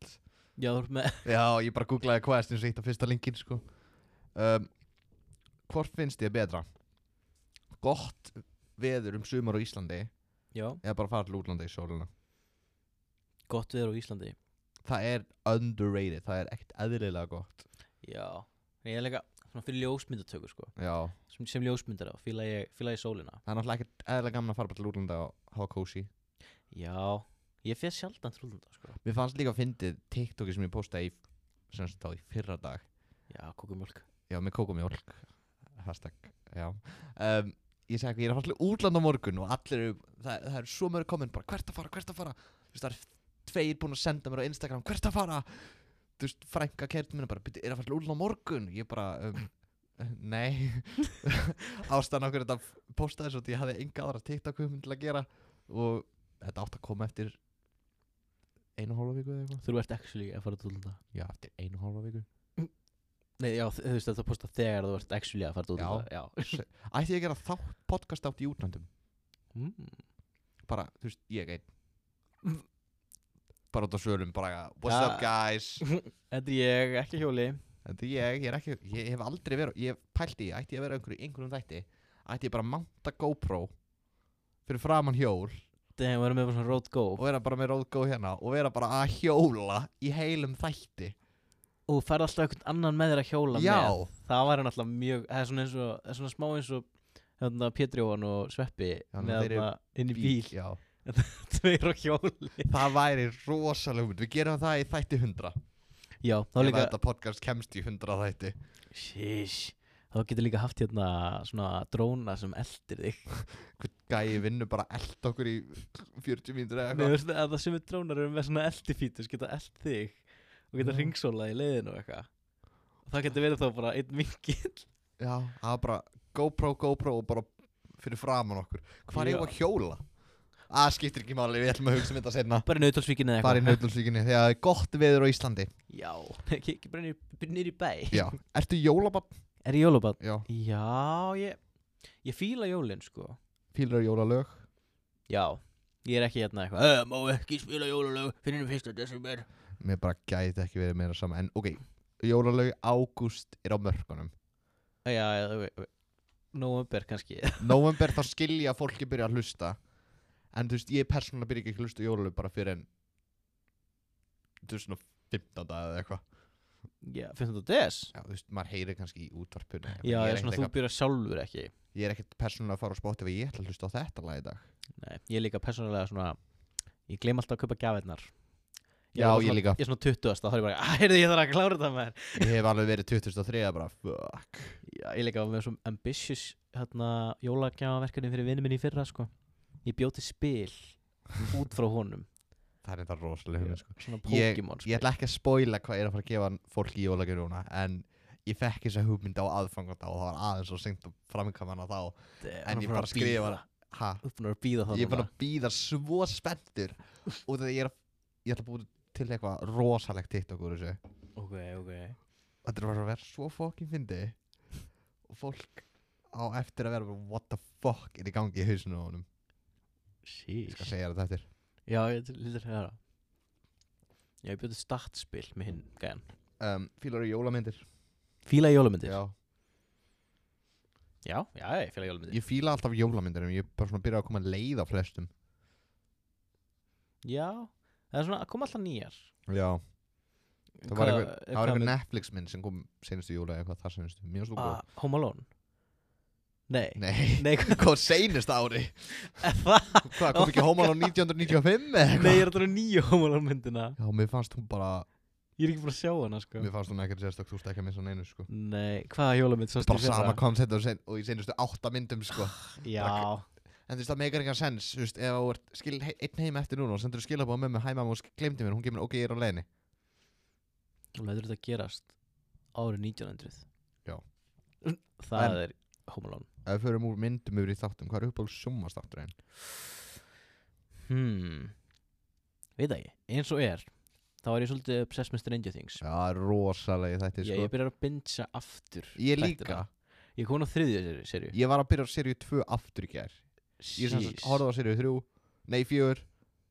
B: Já, þú ert með
A: Já, ég bara googlaði questions eitt á fyrsta linkin sko um, Hvort finnst ég betra? Gott veður um sumar á Íslandi
B: Já
A: eða bara fara til útlanda í sóluna
B: Gott viður á Íslandi
A: Það er underrated, það er ekkert eðlilega gott
B: Já Ég er líka svona fyrir ljósmyndatöku sko
A: Já,
B: Sem, sem ljósmyndara fíla ég, fíla ég sólina
A: það er náttúrulega ekkert eðlilega gaman að fara bara til útlanda og hafa kósi
B: Já Ég fyrir sjaldan til útlanda sko
A: Mér fannst líka að fyndið TikToki sem ég postaði í, sem sagt þá í fyrra dag
B: Já, kókumjólk
A: Já, með kókumjólk Hashtag, já um, Ég segi eitthvað, ég er að fara til útlanda á morgun og allir eru, það, það er svo mörg komment bara hvert að fara, hvert að fara Þú veist, það er tveir búin að senda mér á Instagram, hvert að fara Þú veist, frænka kert minna bara, "Bíddu, er að fara til útlanda á morgun Ég bara, um, nei Ástæðan okkur þetta postaði svo því ég hafði enga aðra TikTok um til að gera og þetta átt að koma eftir einu og hálfa viku eða eitthvað
B: Þú ert actually að fara til útlanda
A: Já, eftir einu og hálfa viku
B: Nei, já, þú þú veist þetta posta þegar þú ert actually að fara til
A: Já.
B: útlanda Já,
A: Ætti ég að gera þátt podcast átt í útlandum
B: Mm.
A: Bara, þú veist, ég einn Bara út á sölum, bara What's
B: Ja.
A: up guys
B: Þetta er ég, ekki hjóli
A: Þetta er ég, ég er ekki Ég hef aldrei verið, ég hef pælt í Ætti ég að vera einhverju, einhverjum þætti Ætti ég bara að manta GoPro Fyrir framan hjól
B: Þegar við erum með bara svona road go
A: Og vera bara með róðgó hérna Og vera bara að hjóla í heilum þætti
B: og þú færð alltaf einhvern annan með þér að hjóla með
A: Já,
B: það var náttúrulega mjög það er svona, eins og, það er svona smá eins og hérna, Pétri Jóhann og Sveppi með
A: þeir eru
B: hérna inn í bíl
A: já
B: tveir á hjóli
A: Það væri rosalega mynd Við gerum það í þætti 100
B: já, þá
A: Ef
B: líka
A: þetta podcast kemst í 100 þætti
B: Sheesh. þá getur líka haft hérna svona dróna sem eldir þig
A: Gæi vinnu bara eld okkur í 40 mínútur eða
B: Nei,
A: eitthvað
B: veistu, að það sem er drónar eru með svona eldifítus geta eld þig og geta
A: Já.
B: ringsóla í leiðinu og eitthvað og það getur verið þá bara einn vinkill
A: Já, það var bara GoPro, GoPro og bara fyrir framan okkur Hvar er
B: Já.
A: ég að hjóla? Það skiptir ekki máli, við ætlum að hugsa um þetta senna
B: bara í nautalsvíkinni eða
A: Bara í nautlundsvíkinni, þegar það er gott veður á Íslandi
B: já, ekki, ekki bara nýri bæ
A: Já, ertu jólabann?
B: er ég jólabann?
A: Já,
B: Já, ég, ég fíla jólin sko
A: fílar jólalög
B: Já, ég er ekki hérna eitthvað "Eh, Má ekki spila jólalög fyrir henni fyrsta desember
A: Mér bara gæti ekki verið meira sama En ok, jólalög ágúst er á mörkunum
B: Já, já, þú veit Nóvember kannski
A: November þá skilja að fólki byrja að hlusta En þú veist, ég persónulega byrja ekki að hlusta á jólalög bara fyrir en Þú veist, svona 15 dag eða eitthvað
B: Já, finnst þú des?
A: Já, þú veist, maður heyri kannski í útvarpunni
B: Já,
A: ég
B: ég
A: er
B: er svona
A: ekkert
B: þú byrjar sjálfur ekki
A: eitthvað- Ég er ekkert persónulega að fara á spotið og ég ætla að hlusta á þetta lag í dag
B: Nei, ég er líka persónulega svona Ég gleym alltaf að kaupa gjafirnar
A: Já,
B: er bara
A: ég
B: svona-
A: líka.
B: Ég er svona 20 þá er ég bara, að heyrðu ég þarf að klára þetta með
A: Ég hef alveg verið 2003 bara fuck
B: Já, ég líka var með svona ambitious hérna, jólagjafaverkefni fyrir vinnu minni í fyrra sko Ég bjóti spil út frá honum
A: Það er þetta rosalega hugmynd sko.
B: Svona
A: Ég-
B: Pokémon
A: Ég ætla ekki að spoila hvað ég er að fara að gefa fólki í jólagjöru núna En ég fekk þessa hugmynd á aðfanganda og það var aðeins og sengt að framkama hana þá En ég bara skrifa það Ha,
B: Þú er búin að býða það
A: ég er bara að býða svo spenntur Út af því ég er að Ég ætla að búið til eitthvað rosalegt TikTok úr þessu
B: Ok, ok
A: Þetta er bara að vera svo fokkin fyndi Og fólk á eftir að vera bara, What the fuck er í gangi í hausinu á honum Ég skal
B: Sýs
A: segja þetta eftir
B: Já, ég lítur að höra Já, ég bjóði startspil með hinn gæðan
A: um, Fílar eru jólamyndir
B: Fíla í jólamyndir Já,
A: Já.
B: já, ég fíla í jólamyndir
A: Ég fíla alltaf jólamyndir En ég er bara svona að byrja að koma leið á flestum
B: Já, það er svona að koma alltaf nýjar
A: Já Það var
B: Hvað- eh,
A: eitthvað, það var
B: hvað
A: eitthvað
B: með-
A: Netflix mynd sem kom senustu jóla eða eitthvað þar senustu Mjög stúku
B: Ah, Home Alone Nei
A: Nei,
B: Nei, hvað
A: kom senust ári
B: er það?
A: Hvað, kom ekki Home Alone 1995 eða
B: Nei, ég
A: eitthvað?
B: er alltaf nýju Home Alone myndina
A: Já, mér fannst hún bara
B: Ég er ekki búin að sjá hana, sko
A: Mér fannst hún ekkert sérstök, þú veist ekki að missa neinu sko
B: Nei, hvaða jólamynd sástu í
A: Bara
B: fyrra?
A: sama koncept og, sen, og í senustu átta myndum sko
B: Já,
A: En þú veist, það meikar engan sens, þú veist, ef þú ert skil he einn heim eftir núna og sendur þú skilabóð með mig hæmam og glemdi mér, hún kemur, ok, ég er á leiðinni.
B: og lætur þetta gerast árið 1900
A: Já.
B: það
A: En-
B: er Home Alone
A: Ef við förum úr myndum yfir í þáttum, hvað er uppáhalds sjónvarpsþátturinn?
B: hmm, veit það ekki, eins og er þá er ég svolítið obsessed með Stranger Things
A: Já, það er rosalegi þetta
B: ég,
A: sko.
B: ég byrjar að bingea aftur
A: Ég
B: þættina.
A: líka
B: ég kom á þriðju serju
A: Ég var að byrja á serið 2 aftur í gær Ég sem sagt horfði á serið 3 Nei 4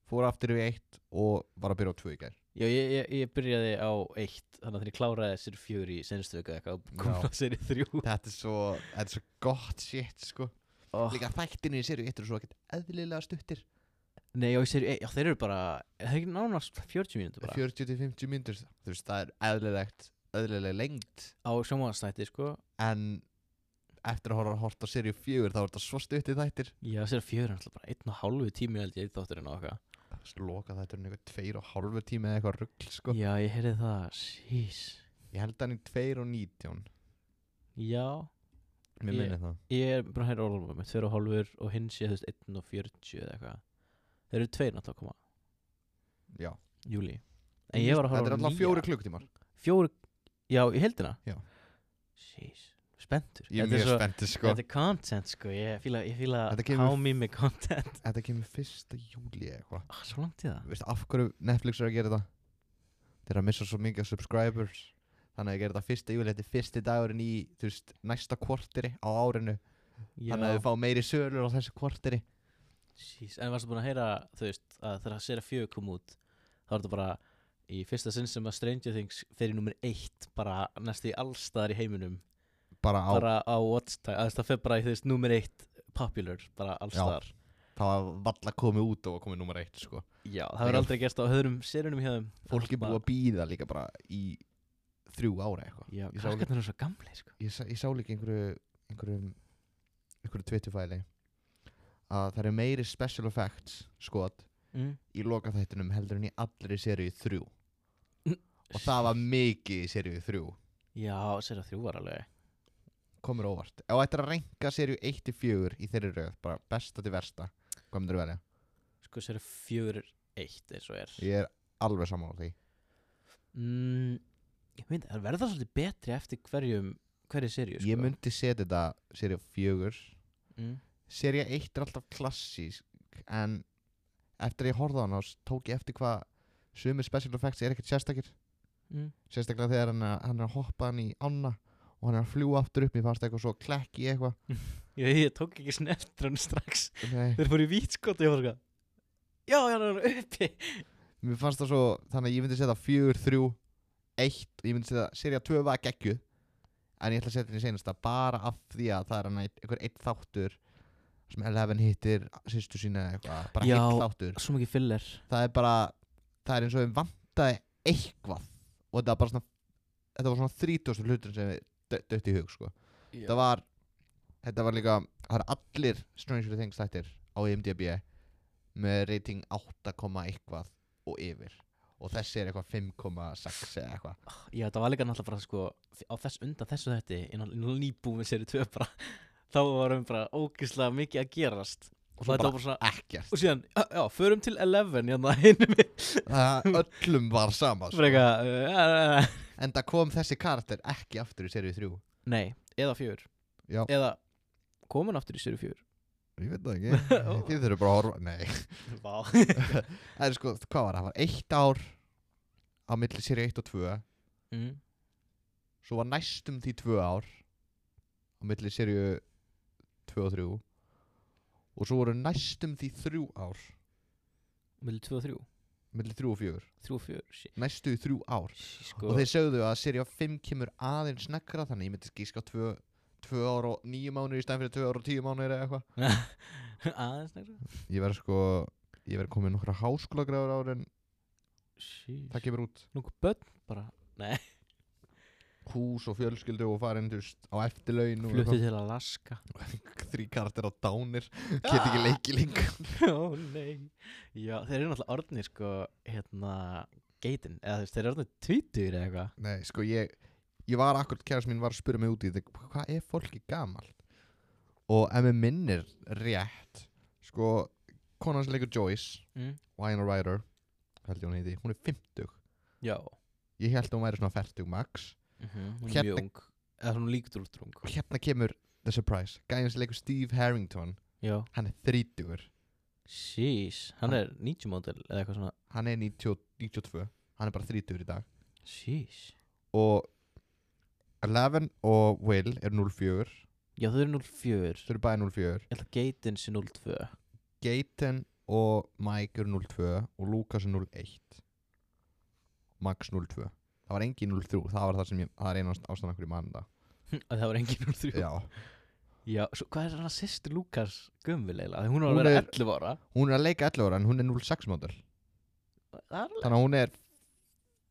A: Fór aftur við 1 Og var að byrja á 2 í gær
B: Já, ég, ég, ég byrjaði á eitt þannig að þegar ég kláraði sér fjör í sennstöku eitthvað og kom
A: Já.
B: á sér í þrjú
A: Þetta er svo Þetta er svo gott shit sko
B: oh.
A: Líka þættinni í serið 1 er svo ekkert eðlilega stuttir
B: Nei, já, ég sér, já, þeir eru bara er það er ekki nánast 40 mínútur bara
A: 40-50 myndur Þú veist það er eðlilegt Eðlilega lengt
B: á sjónvaðanstætti, sko
A: En Eftir að horfa að horfa á serið 4 Þá er þetta svo stuttið þættir
B: Já, sér fjör er alltaf bara einn og hálfu tími held ég í þátturinn og eitthvað
A: Loka þetta er einhver 2 og halvur tími eða eitthvað rugl sko
B: Já, ég heyrði það, sís
A: Ég held hann í 2 og 19
B: Já,
A: Mér
B: Ég-
A: minni það
B: ég er bara að heyra orðum með tveir og hálfur og hinn sé þú veist einn og 40 eða eitthvað Þeir eru tveir náttúrulega að koma,
A: Já
B: júli En ég var að
A: Þetta
B: horfa
A: er
B: á
A: alltaf
B: nýja.
A: fjóri klukkutímar
B: Fjóri, já, í heldina
A: Já.
B: Sís, spenntur
A: Ég er
B: Þetta
A: mjög
B: svo-
A: spenntið sko
B: Þetta er content sko, ég fíla, ég fíla
A: Þetta kemur-
B: hámi með content
A: Þetta kemur fyrsta júli eða eitthvað
B: ah, Svo langt í það
A: Veistu af hverju Netflix er að gera þetta? Þeir eru að missa svo mikið af subscribers Þannig að þeir gera þetta fyrsta júli Þetta er fyrsti dagurinn í þú veist, næsta kvortiri á árinu Þannig að
B: Já.
A: þau fá meiri sölur á þessu kvortiri
B: Jeez, en varstu búin að heyra þú veist að þegar Sera 4 kom út þá var þetta bara í fyrsta sinn sem að Stranger Things fer í nummer 1 bara næstu í allstaðar í heiminum
A: Bara á
B: bara á watch time, að það fer bara í þú veist nummer 1 popular, bara allstaðar já.
A: Það var valla komið út og var komið nummer eitt sko
B: já, það verður aldrei gerst á öðrum serunum hjá þeim
A: Fólki
B: Bara-
A: búið að býða líka bara í þrjú ára eitthvað
B: Já,
A: Ég sá líka-
B: krakkarnir eru svo gamli sko
A: ég, sá- ég sá líka einhverju einhverjum einhverju Twitterfæli að það eru meiri special effects skot
B: mm.
A: í lokaþættunum heldur en í allri seríu þrjú og það var mikið í seríu þrjú
B: Já, Sera 3 var alveg
A: komur óvart ef þetta er að reynga seríu 1-4 í þeirri röð bara besta til versta hvað myndir velja
B: sko Sera 4 1 eins og er
A: ég er alveg saman á því
B: mm, ég veit, það verður það svolítið betri eftir hverjum hverju serju sko.
A: ég myndi setja þetta seríu 4
B: mm.
A: seríu 1 er alltaf klassísk en eftir að ég horfði á hann tók ég eftir hvað sumir special effects er ekkert sérstakir
B: Mm.
A: sérstaklega þegar hann, er- hann er að hoppa hann í ána og hann er að fljúa aftur upp mér fannst eitthvað svo klekki eitthvað
B: Ég, ég tók ekki sneftur hann strax
A: Nei,
B: þeir fóru í vítskot og ég var sko já, já, hann er uppi
A: mér fannst það svo þannig að ég myndi setja fjögur, þrjú, eitt og ég myndi setja serið að töfa að geggju en ég ætla að setja henni senast að bara af því að það er hann einn- einhver eitt þáttur sem Eleven hittir sýstu sína eða eitthvað, bara
B: Já.
A: eitt þáttur
B: svo mikið filler
A: það er bara, það er eins og við vantaði eitthvað og þetta var bara svona þetta var svona 30 hlutur sem við dött í hug sko þetta var þetta var líka, það er allir Stranger Things þættir á IMDb með rating 8, komma eitthvað og yfir og þessi er eitthvað 5,6 eða eitthvað
B: já, það var líka náttúrulega bara sko á þess undan þessu þetta ég náttúrulega nýbú með seri 2 bara þá varum bara ógislega mikið að gerast
A: og svo
B: þetta
A: bara
B: var bara svona
A: ekkert
B: og síðan, já, já, förum til 11 hérna hinum við
A: það öllum var sama sko.
B: freka, uh,
A: en það kom þessi karakter ekki aftur í seríu 3
B: nei, eða 4
A: Já.
B: eða komin aftur í seri 4
A: ég veit það ekki, þið þurfum bara að horfa nei,
B: Vá
A: en sko, hvað var það, það var eitt ár á milli seríu 1 og 2
B: mm.
A: svo var næstum því tvö ár á milli serju 2 og 3 og svo voru næstum því þrjú ár
B: Mili 2 og 3
A: milli 3 og 4,
B: 3 og 4 sí,
A: næstu því þrjú ár
B: sí, sko.
A: og þeir sögðu að serja 5 kemur aðeins negra þannig ég myndi skíska 2 2 ár og 9 mánuðir í stæðan fyrir 2 ár og 10 mánuðir eða eitthvað
B: Sko, Aðeins nægra
A: ég verð sko, ég verð komið nokkra háskóla gráður ár en það kemur út
B: Nú bönn bara
A: hús og fjölskyldu og farin þú veist, á eftirlaun og
B: Fluttu til Alaska
A: eitthvað. þrí kartir á dánir get ekki leiki lengur
B: Ó nei Já þeir eru náttúrulega orðnir sko Hérna Geitin Eða þú veist þeir eru orðnir tvítur eða eitthvað
A: Nei, sko ég Ég var akkurat, kærast mín var að spura mig út í þetta Hvað er fólki gamalt? Og ef mér minnir rétt Sko, konan sem leikur Joyce
B: mm.
A: Wine Ryder Held ég hún heiti, hún er 50
B: Já
A: Ég held að hún væri svona 40 max
B: mm -hmm. Hún er
A: Hérna-
B: mjög ung Eða hún líktur úr drung
A: Og hérna kemur The Surprise Gæðin sem leikur Steve Harrington
B: Já
A: Hann er 30
B: Sís, hann er 90 mótil eða eitthvað svona
A: hann er 90, 92 hann er bara 30 í dag
B: Sís
A: og Eleven og Will er 04
B: Já þau eru 04
A: þau eru bæði 04
B: Ég held að geitin sé 02
A: Gaten og Mike eru 02 og Lucas er 01 Max 02 það var engin 03 það var það sem ég, það er einu ástæðan okkur í mann það
B: Hm, að það var engin 03
A: já
B: Já, svo hvað er hann að sýsti Lukas Gumvileila? Hún var
A: Hún
B: að vera
A: er-
B: 11 ára
A: hún er að leika 11 ára en hún er 06 módel
B: Það er alveg
A: þannig að hún er 15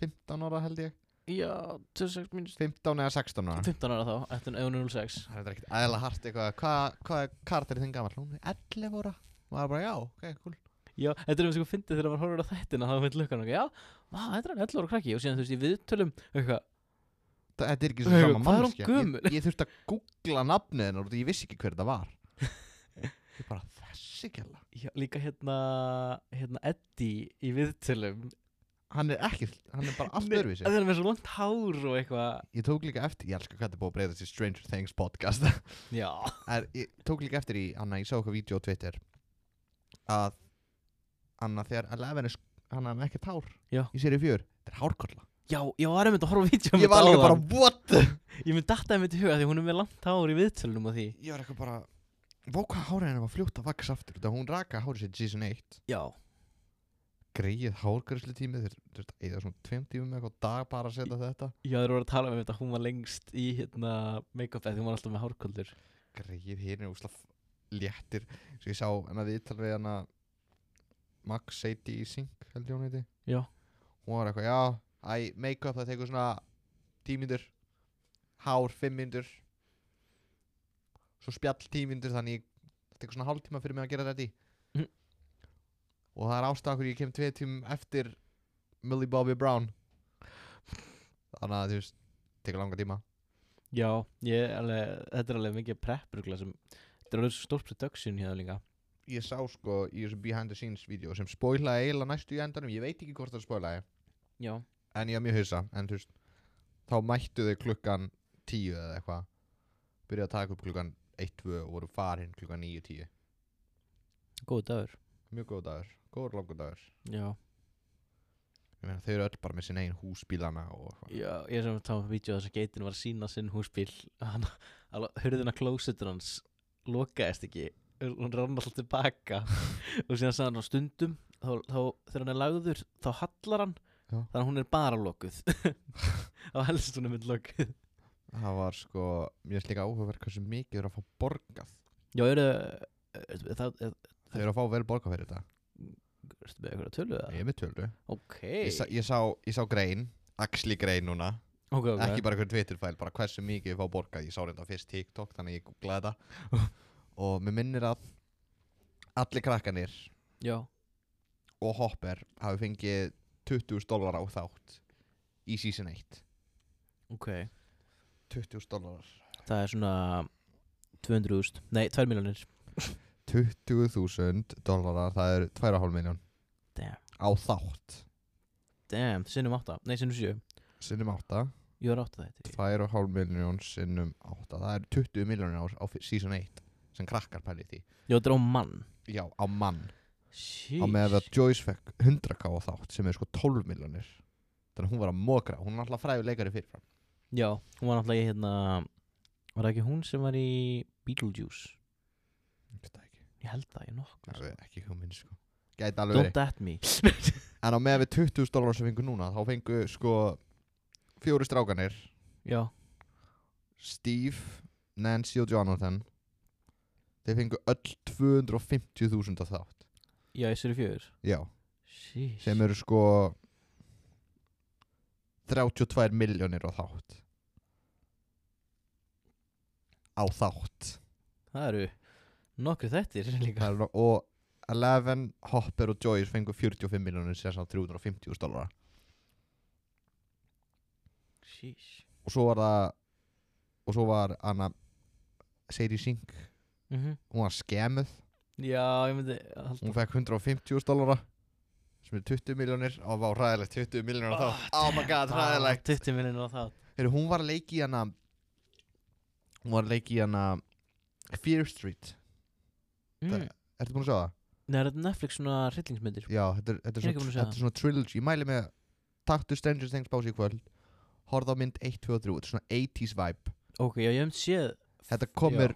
A: 15 ára held ég
B: Já, 26 mínus
A: 15 eða 16 ára
B: 15 ára þá, eftir ef hún er 06
A: það er þetta ekkert aðeila hart eitthvað hvað hva er karakter þinn gammal hún er 11 ára maður bara já ok cool
B: Já, þetta er eins og fyndið þegar maður horfir á þættina þá veit lukkan okkur, já, vá, þetta er hann 11 ára krakki og síðan þú veist, ég viðtölum eitthvað,
A: Þa- þetta er ekki
B: Hvað
A: svo
B: er
A: sama
B: hún
A: mannskja
B: gömul?
A: ég, ég þurfti að googla nafnið hennar og ég vissi ekki hver þetta var ég bara þessi gæla
B: já, líka hérna hérna Eddie í viðtölum
A: hann er ekki hann er bara allt
B: Nei,
A: öðruvísi
B: Það er með svo langt hár og eitthvað
A: ég tók líka eftir ég elskar hvað þetta er búið að breyða þessi Stranger Things podcast
B: Já
A: er, ég tók líka eftir í hann ég sá okkar vídeo á Twitter að hann að þegar Eleven er sk- hann er með ekkert hár
B: Já.
A: í séri fjör þetta er hárkolla
B: Já, ég var einmitt að horfa á vídeo um
A: ég var líka bara what the
B: Ég mynd datta einmitt í huga því hún er með langt hár í viðtölunum og því
A: ég var eitthvað bara Vá hvað hárið henni var fljótt að vaks aftur Þetta hún raka hárið sér season 1
B: Já
A: Greið hárgræslu tími Þeir þurft að eða svona tveim tímum eitthvað á dag bara að setja þetta
B: Já, þeir voru að tala um þetta, hún var lengst í hérna make-up eða því hún var alltaf með hárköldur
A: Greið hérna er úsla léttir Svo ég sá henni að viðtal við henni Max Sadie í Sync held ég hún heiti
B: Já.
A: Hún var eitthvað já Æ, make-up það tekur svona tímindur Hár fimmindur Svo spjall tímindur Þannig ég- það tekur svona hálftíma fyrir mig að gera þetta í
B: Mhm.
A: Og það er ástæða hverju ég kem tveið tímum eftir Millie Bobby Brown Þannig að þú veist Tekur langa tíma
B: Já, ég er alveg, þetta er alveg mikið prepprugla sem Þetta er alveg svo stórt production hérna líka
A: ég sá sko í þessu behind the scenes vídeo sem spoilaði eiginlega næstu í endanum ég veit ekki hvort það spoilaði
B: Já
A: en ég var mjög hausa en þú veist þá mættu þau klukkan 10 eða eitthvað byrjaði að taka upp klukkan 1-2 og voru farinn klukkan 9-10
B: Góð dagur
A: mjög góð dagur, góður langur dagur
B: Já
A: ég meina þau eru öll bara með sinna einn húsbílana og eitthvað
B: Já, ég er sem að tala um vídeo þess að geitin var að sína sinn húsbíl hann, alveg, hurðina klósetur hans lokaðist ekki hún rann alltaf tilbaka og síðan sagði hann á stundum þá, þá, þegar hann er lagður þá hallar hann
A: Já.
B: þannig að hún er bara lokuð þá helst hún er mynd lokuð
A: það var sko, mér finnst líka áhugaverð hversu mikið þau eru að fá borgað
B: Já, eru er, það er,
A: þau eru að fá vel borgað fyrir þetta
B: ertu með eitthvað tölu það?
A: ég er með tölu
B: Ok,
A: ég, sa, ég, sá, ég sá grein, axli grein núna
B: ok, ok
A: ekki bara einhver Twitterfæl, bara hversu mikið ég fá borgað ég sá reynda fyrst TikTok, þannig að ég googlaði þetta og mér minnir að allir krakkanir
B: Já,
A: og Hopper hafi fengið 20.000 dólar á þátt í season 1
B: ok
A: 20.000 dólar
B: Það er svona 200.000, nei, 2 miljonir
A: 20.000 dólarar, það er 2,5 miljón
B: Damn.
A: á þátt
B: Damn, sinnum 8, nei, sinnum 7
A: sinnum 8,
B: Ég var átt að þetta
A: 2,5 miljón sinnum 8, það er 20 miljónir á, á season 1 sem krakkar pælið því
B: Já, þetta er á mann
A: já, á mann á með að
B: Sheesh.
A: Joyce fekk 100k á þátt sem er sko 12 miljonir þannig að hún var að mókra, hún var alltaf fræðu leikari fyrirfram
B: Já, hún var náttúrulega í hérna Var það ekki hún sem var í Beetlejuice?
A: þetta ekki,
B: Ég held það, ég nokkuð
A: það
B: sko.
A: er ekki hugmynd sko gæti alveg
B: Don't
A: verið,
B: at me
A: en á með við 20.000 dólar sem fengu núna, þá fengu sko fjóri strákanir,
B: Já,
A: Steve Nancy og Jonathan þeir fengu öll 250.000 á þátt,
B: já, ég sér í fjögur
A: já
B: Sheesh.
A: sem eru sko 32 miljonir á þátt á þátt
B: Það eru nokkuð þettir líka
A: Það er nú- og Eleven, Hopper og Joyce fengu 45 miljónir sem sá 350 stólara
B: Sheesh.
A: og svo var það og svo var Anna Sadie Sink,
B: Mhm.
A: hún var skemuð
B: Já, ég myndi halda-
A: hún fekk 150 stólara sem er 20 miljónir og var ræðilegt 20 miljónir oh, þá oh my god,
B: Ah,
A: ræðilegt
B: 20 minnir á það
A: Heru, hún var að leiki í hana hún var að leiki í hana Fear Street
B: mm.
A: það, Ertu búin að sjá það?
B: Nei, er þetta Netflix svona hryllingsmyndir
A: Já, þetta er, þetta er,
B: Ég er
A: svona,
B: ekki búin að sjá
A: þetta er svona trilogy Ég mæli með Taktu Stranger Things bási í kvöld Horða á mynd 1, 2 og 3 Þetta er svona 80s vibe
B: Ok, já, ég hef um séð
A: Þetta kom
B: Já.
A: mér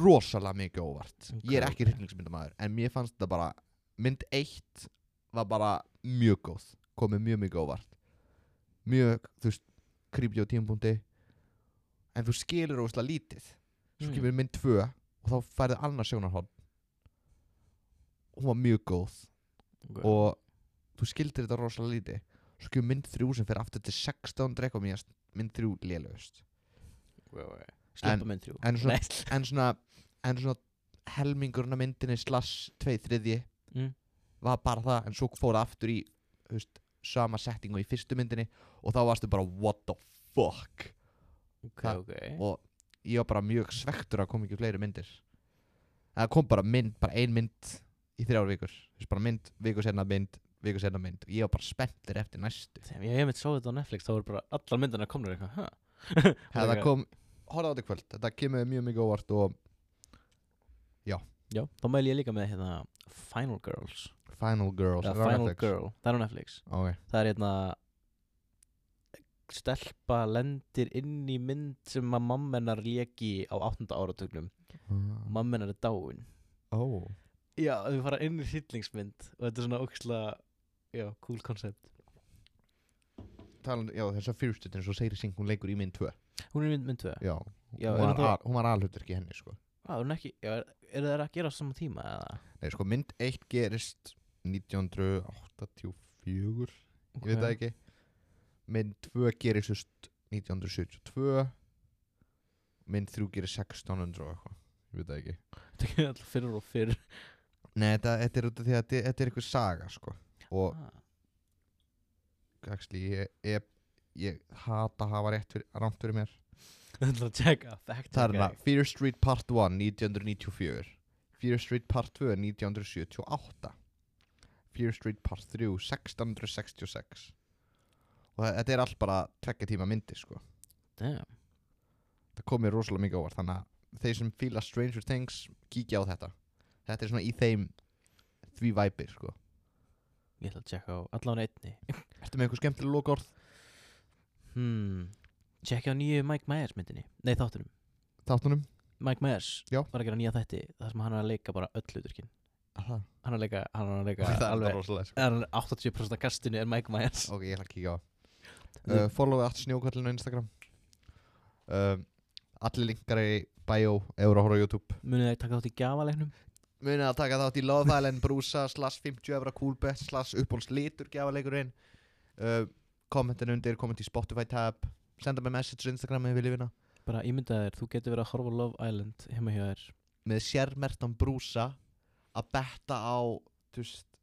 A: rosalega mikið á óvart
B: Ok,
A: Ég er ekki
B: ok.
A: hryllingsmyndamaður En mér fannst þetta bara Mynd 1 var bara mjög góð Komið mjög mikið á óvart Mjög, þú veist, creepy á tímapunkti En þú skilur óslega lítið Svo
B: Mm.
A: kemur mynd 2 Og þá færði annars sjónarhótt Hún var mjög góð
B: okay.
A: og þú skildir þetta rosalega lítið svo kemur mynd þrjú sem fer aftur til 16 drekka mér mynd þrjú lélegust
B: Sleppa mynd þrjú
A: en svona-
B: Nei.
A: en svona, en svona helmingurinn af myndinni slash 2 þriðji
B: Mm.
A: var bara það en svo fór það aftur í þú veist, sama setting og í fyrstu myndinni og þá varstu bara what the fuck
B: Ok,
A: það-
B: ok
A: og ég var bara mjög svektur að koma ekki fleiri myndir en það kom bara mynd, bara ein mynd í þrjár vikur, þú veist bara mynd, viku senna mynd viku senna mynd, ég var bara spenntir eftir næstu
B: Þegar ég hef mitt sá þetta á Netflix þá voru bara allar myndina komnir eitthvað huh?
A: Hei, það
B: Ok.
A: kom, horfða á þetta í kvöld Þetta kemur mjög mikið óvart og
B: Já, þá mæli ég líka með hérna Final Girls
A: Final Girls
B: Eða
A: er það á
B: Final
A: Netflix?
B: Girl, það er á Netflix
A: Ok,
B: það er hérna stelpa lendir inn í mynd sem að mammenar léki á 8. áratugnum
A: Mm.
B: mammenar er dáin
A: Ó,
B: já, þau fara inn í hryllingsmynd og þetta er svona óksla já, cool concept
A: talan, já þess að fyrstutin eins og Seiri Singh hún leikur í mynd 2
B: hún er í mynd, mynd 2 já,
A: Já,
B: Já,
A: hún,
B: er
A: var al,
B: það-
A: hún var alhutverk í henni sko
B: er, hún ekki, já, er, er það að gera á sama tíma eða?
A: Nei, sko, mynd 1 gerist 1984 Ég veit það ekki Mynd 2 gerist just 1972 Mynd 3 gerist 1600 og eitthvað Ég veit það ekki
B: það ekki alltaf fyrir og fyrir
A: Nei, þetta, þetta er út af því að þetta, þetta er eitthvað saga sko Og
B: ah,
A: actually, ég, ég, ég hata að hafa rétt fyrir, rámt fyrir mér
B: það er alltaf að checka fact
A: það er
B: checka.
A: hérna Fear Street Part 1 1994 Fear Street Part 2 1978 Fear Street Part 3 1666 og það, þetta er allt bara tvekja tíma myndi sko
B: Damn.
A: það kom mér rosalega mikið óvart þannig að þeir sem fíla Stranger Things kíkja á þetta þetta er svona í þeim því væpir sko
B: ég ætla að checka á allan einni
A: Ertu með eitthvað skemmtilega lokorð?
B: hmm checka á nýju Mike Myers myndinni nei þáttunum
A: Þáttunum?
B: Mike Myers
A: Já.
B: var að gera nýja þætti þar sem hann er að leika bara öll hluturkin
A: Það
B: hann er að leika, hann er að leika
A: það er alveg
B: alveg
A: rosalega sko.
B: hann er 80% af kastinu er Mike Myers
A: Ok, ég ætla að kíkja á
B: Þú-
A: uh, Follow allt snjókallinu á Instagram uh, Allir linkar í bio Ef þú eru að horfa á YouTube
B: munið þeir taka þátt í gjafalegnum
A: Munið að taka þátt í Love Island Brúsa Slash 50 evra coolbet Slass uppbólst litur Gjafaleikurinn uh, Kommentin undir Komment í Spotify tab Senda mig message á Instagram Ef við lifina
B: bara ímynda þér, þú getur verið að horfa á Love Island heima hjá þér
A: Með sérmertan Brúsa Að betta á Þú veist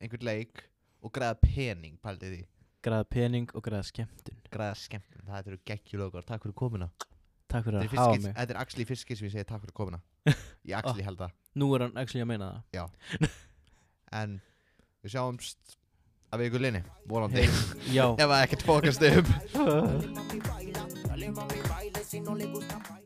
A: Einhvern leik Og græða pening Paldið því
B: græða pening og græða skemmtun
A: Græða skemmtun Það eru geggjulögur Takk fyrir komuna
B: takk fyrir
A: Þetta er
B: að hafa
A: fyrst skipti-
B: mig
A: þetta er actually fyrst skipti sem ég segi takk fyrir komuna Ég actually held það
B: nú er hann actually að meina það
A: En við sjáumst að við ykkur linni Volandi
B: já
A: Ef að ekkert fokast upp
C: Dale, mami, baila. Dale, mami, baila. Si no le gusta, baila.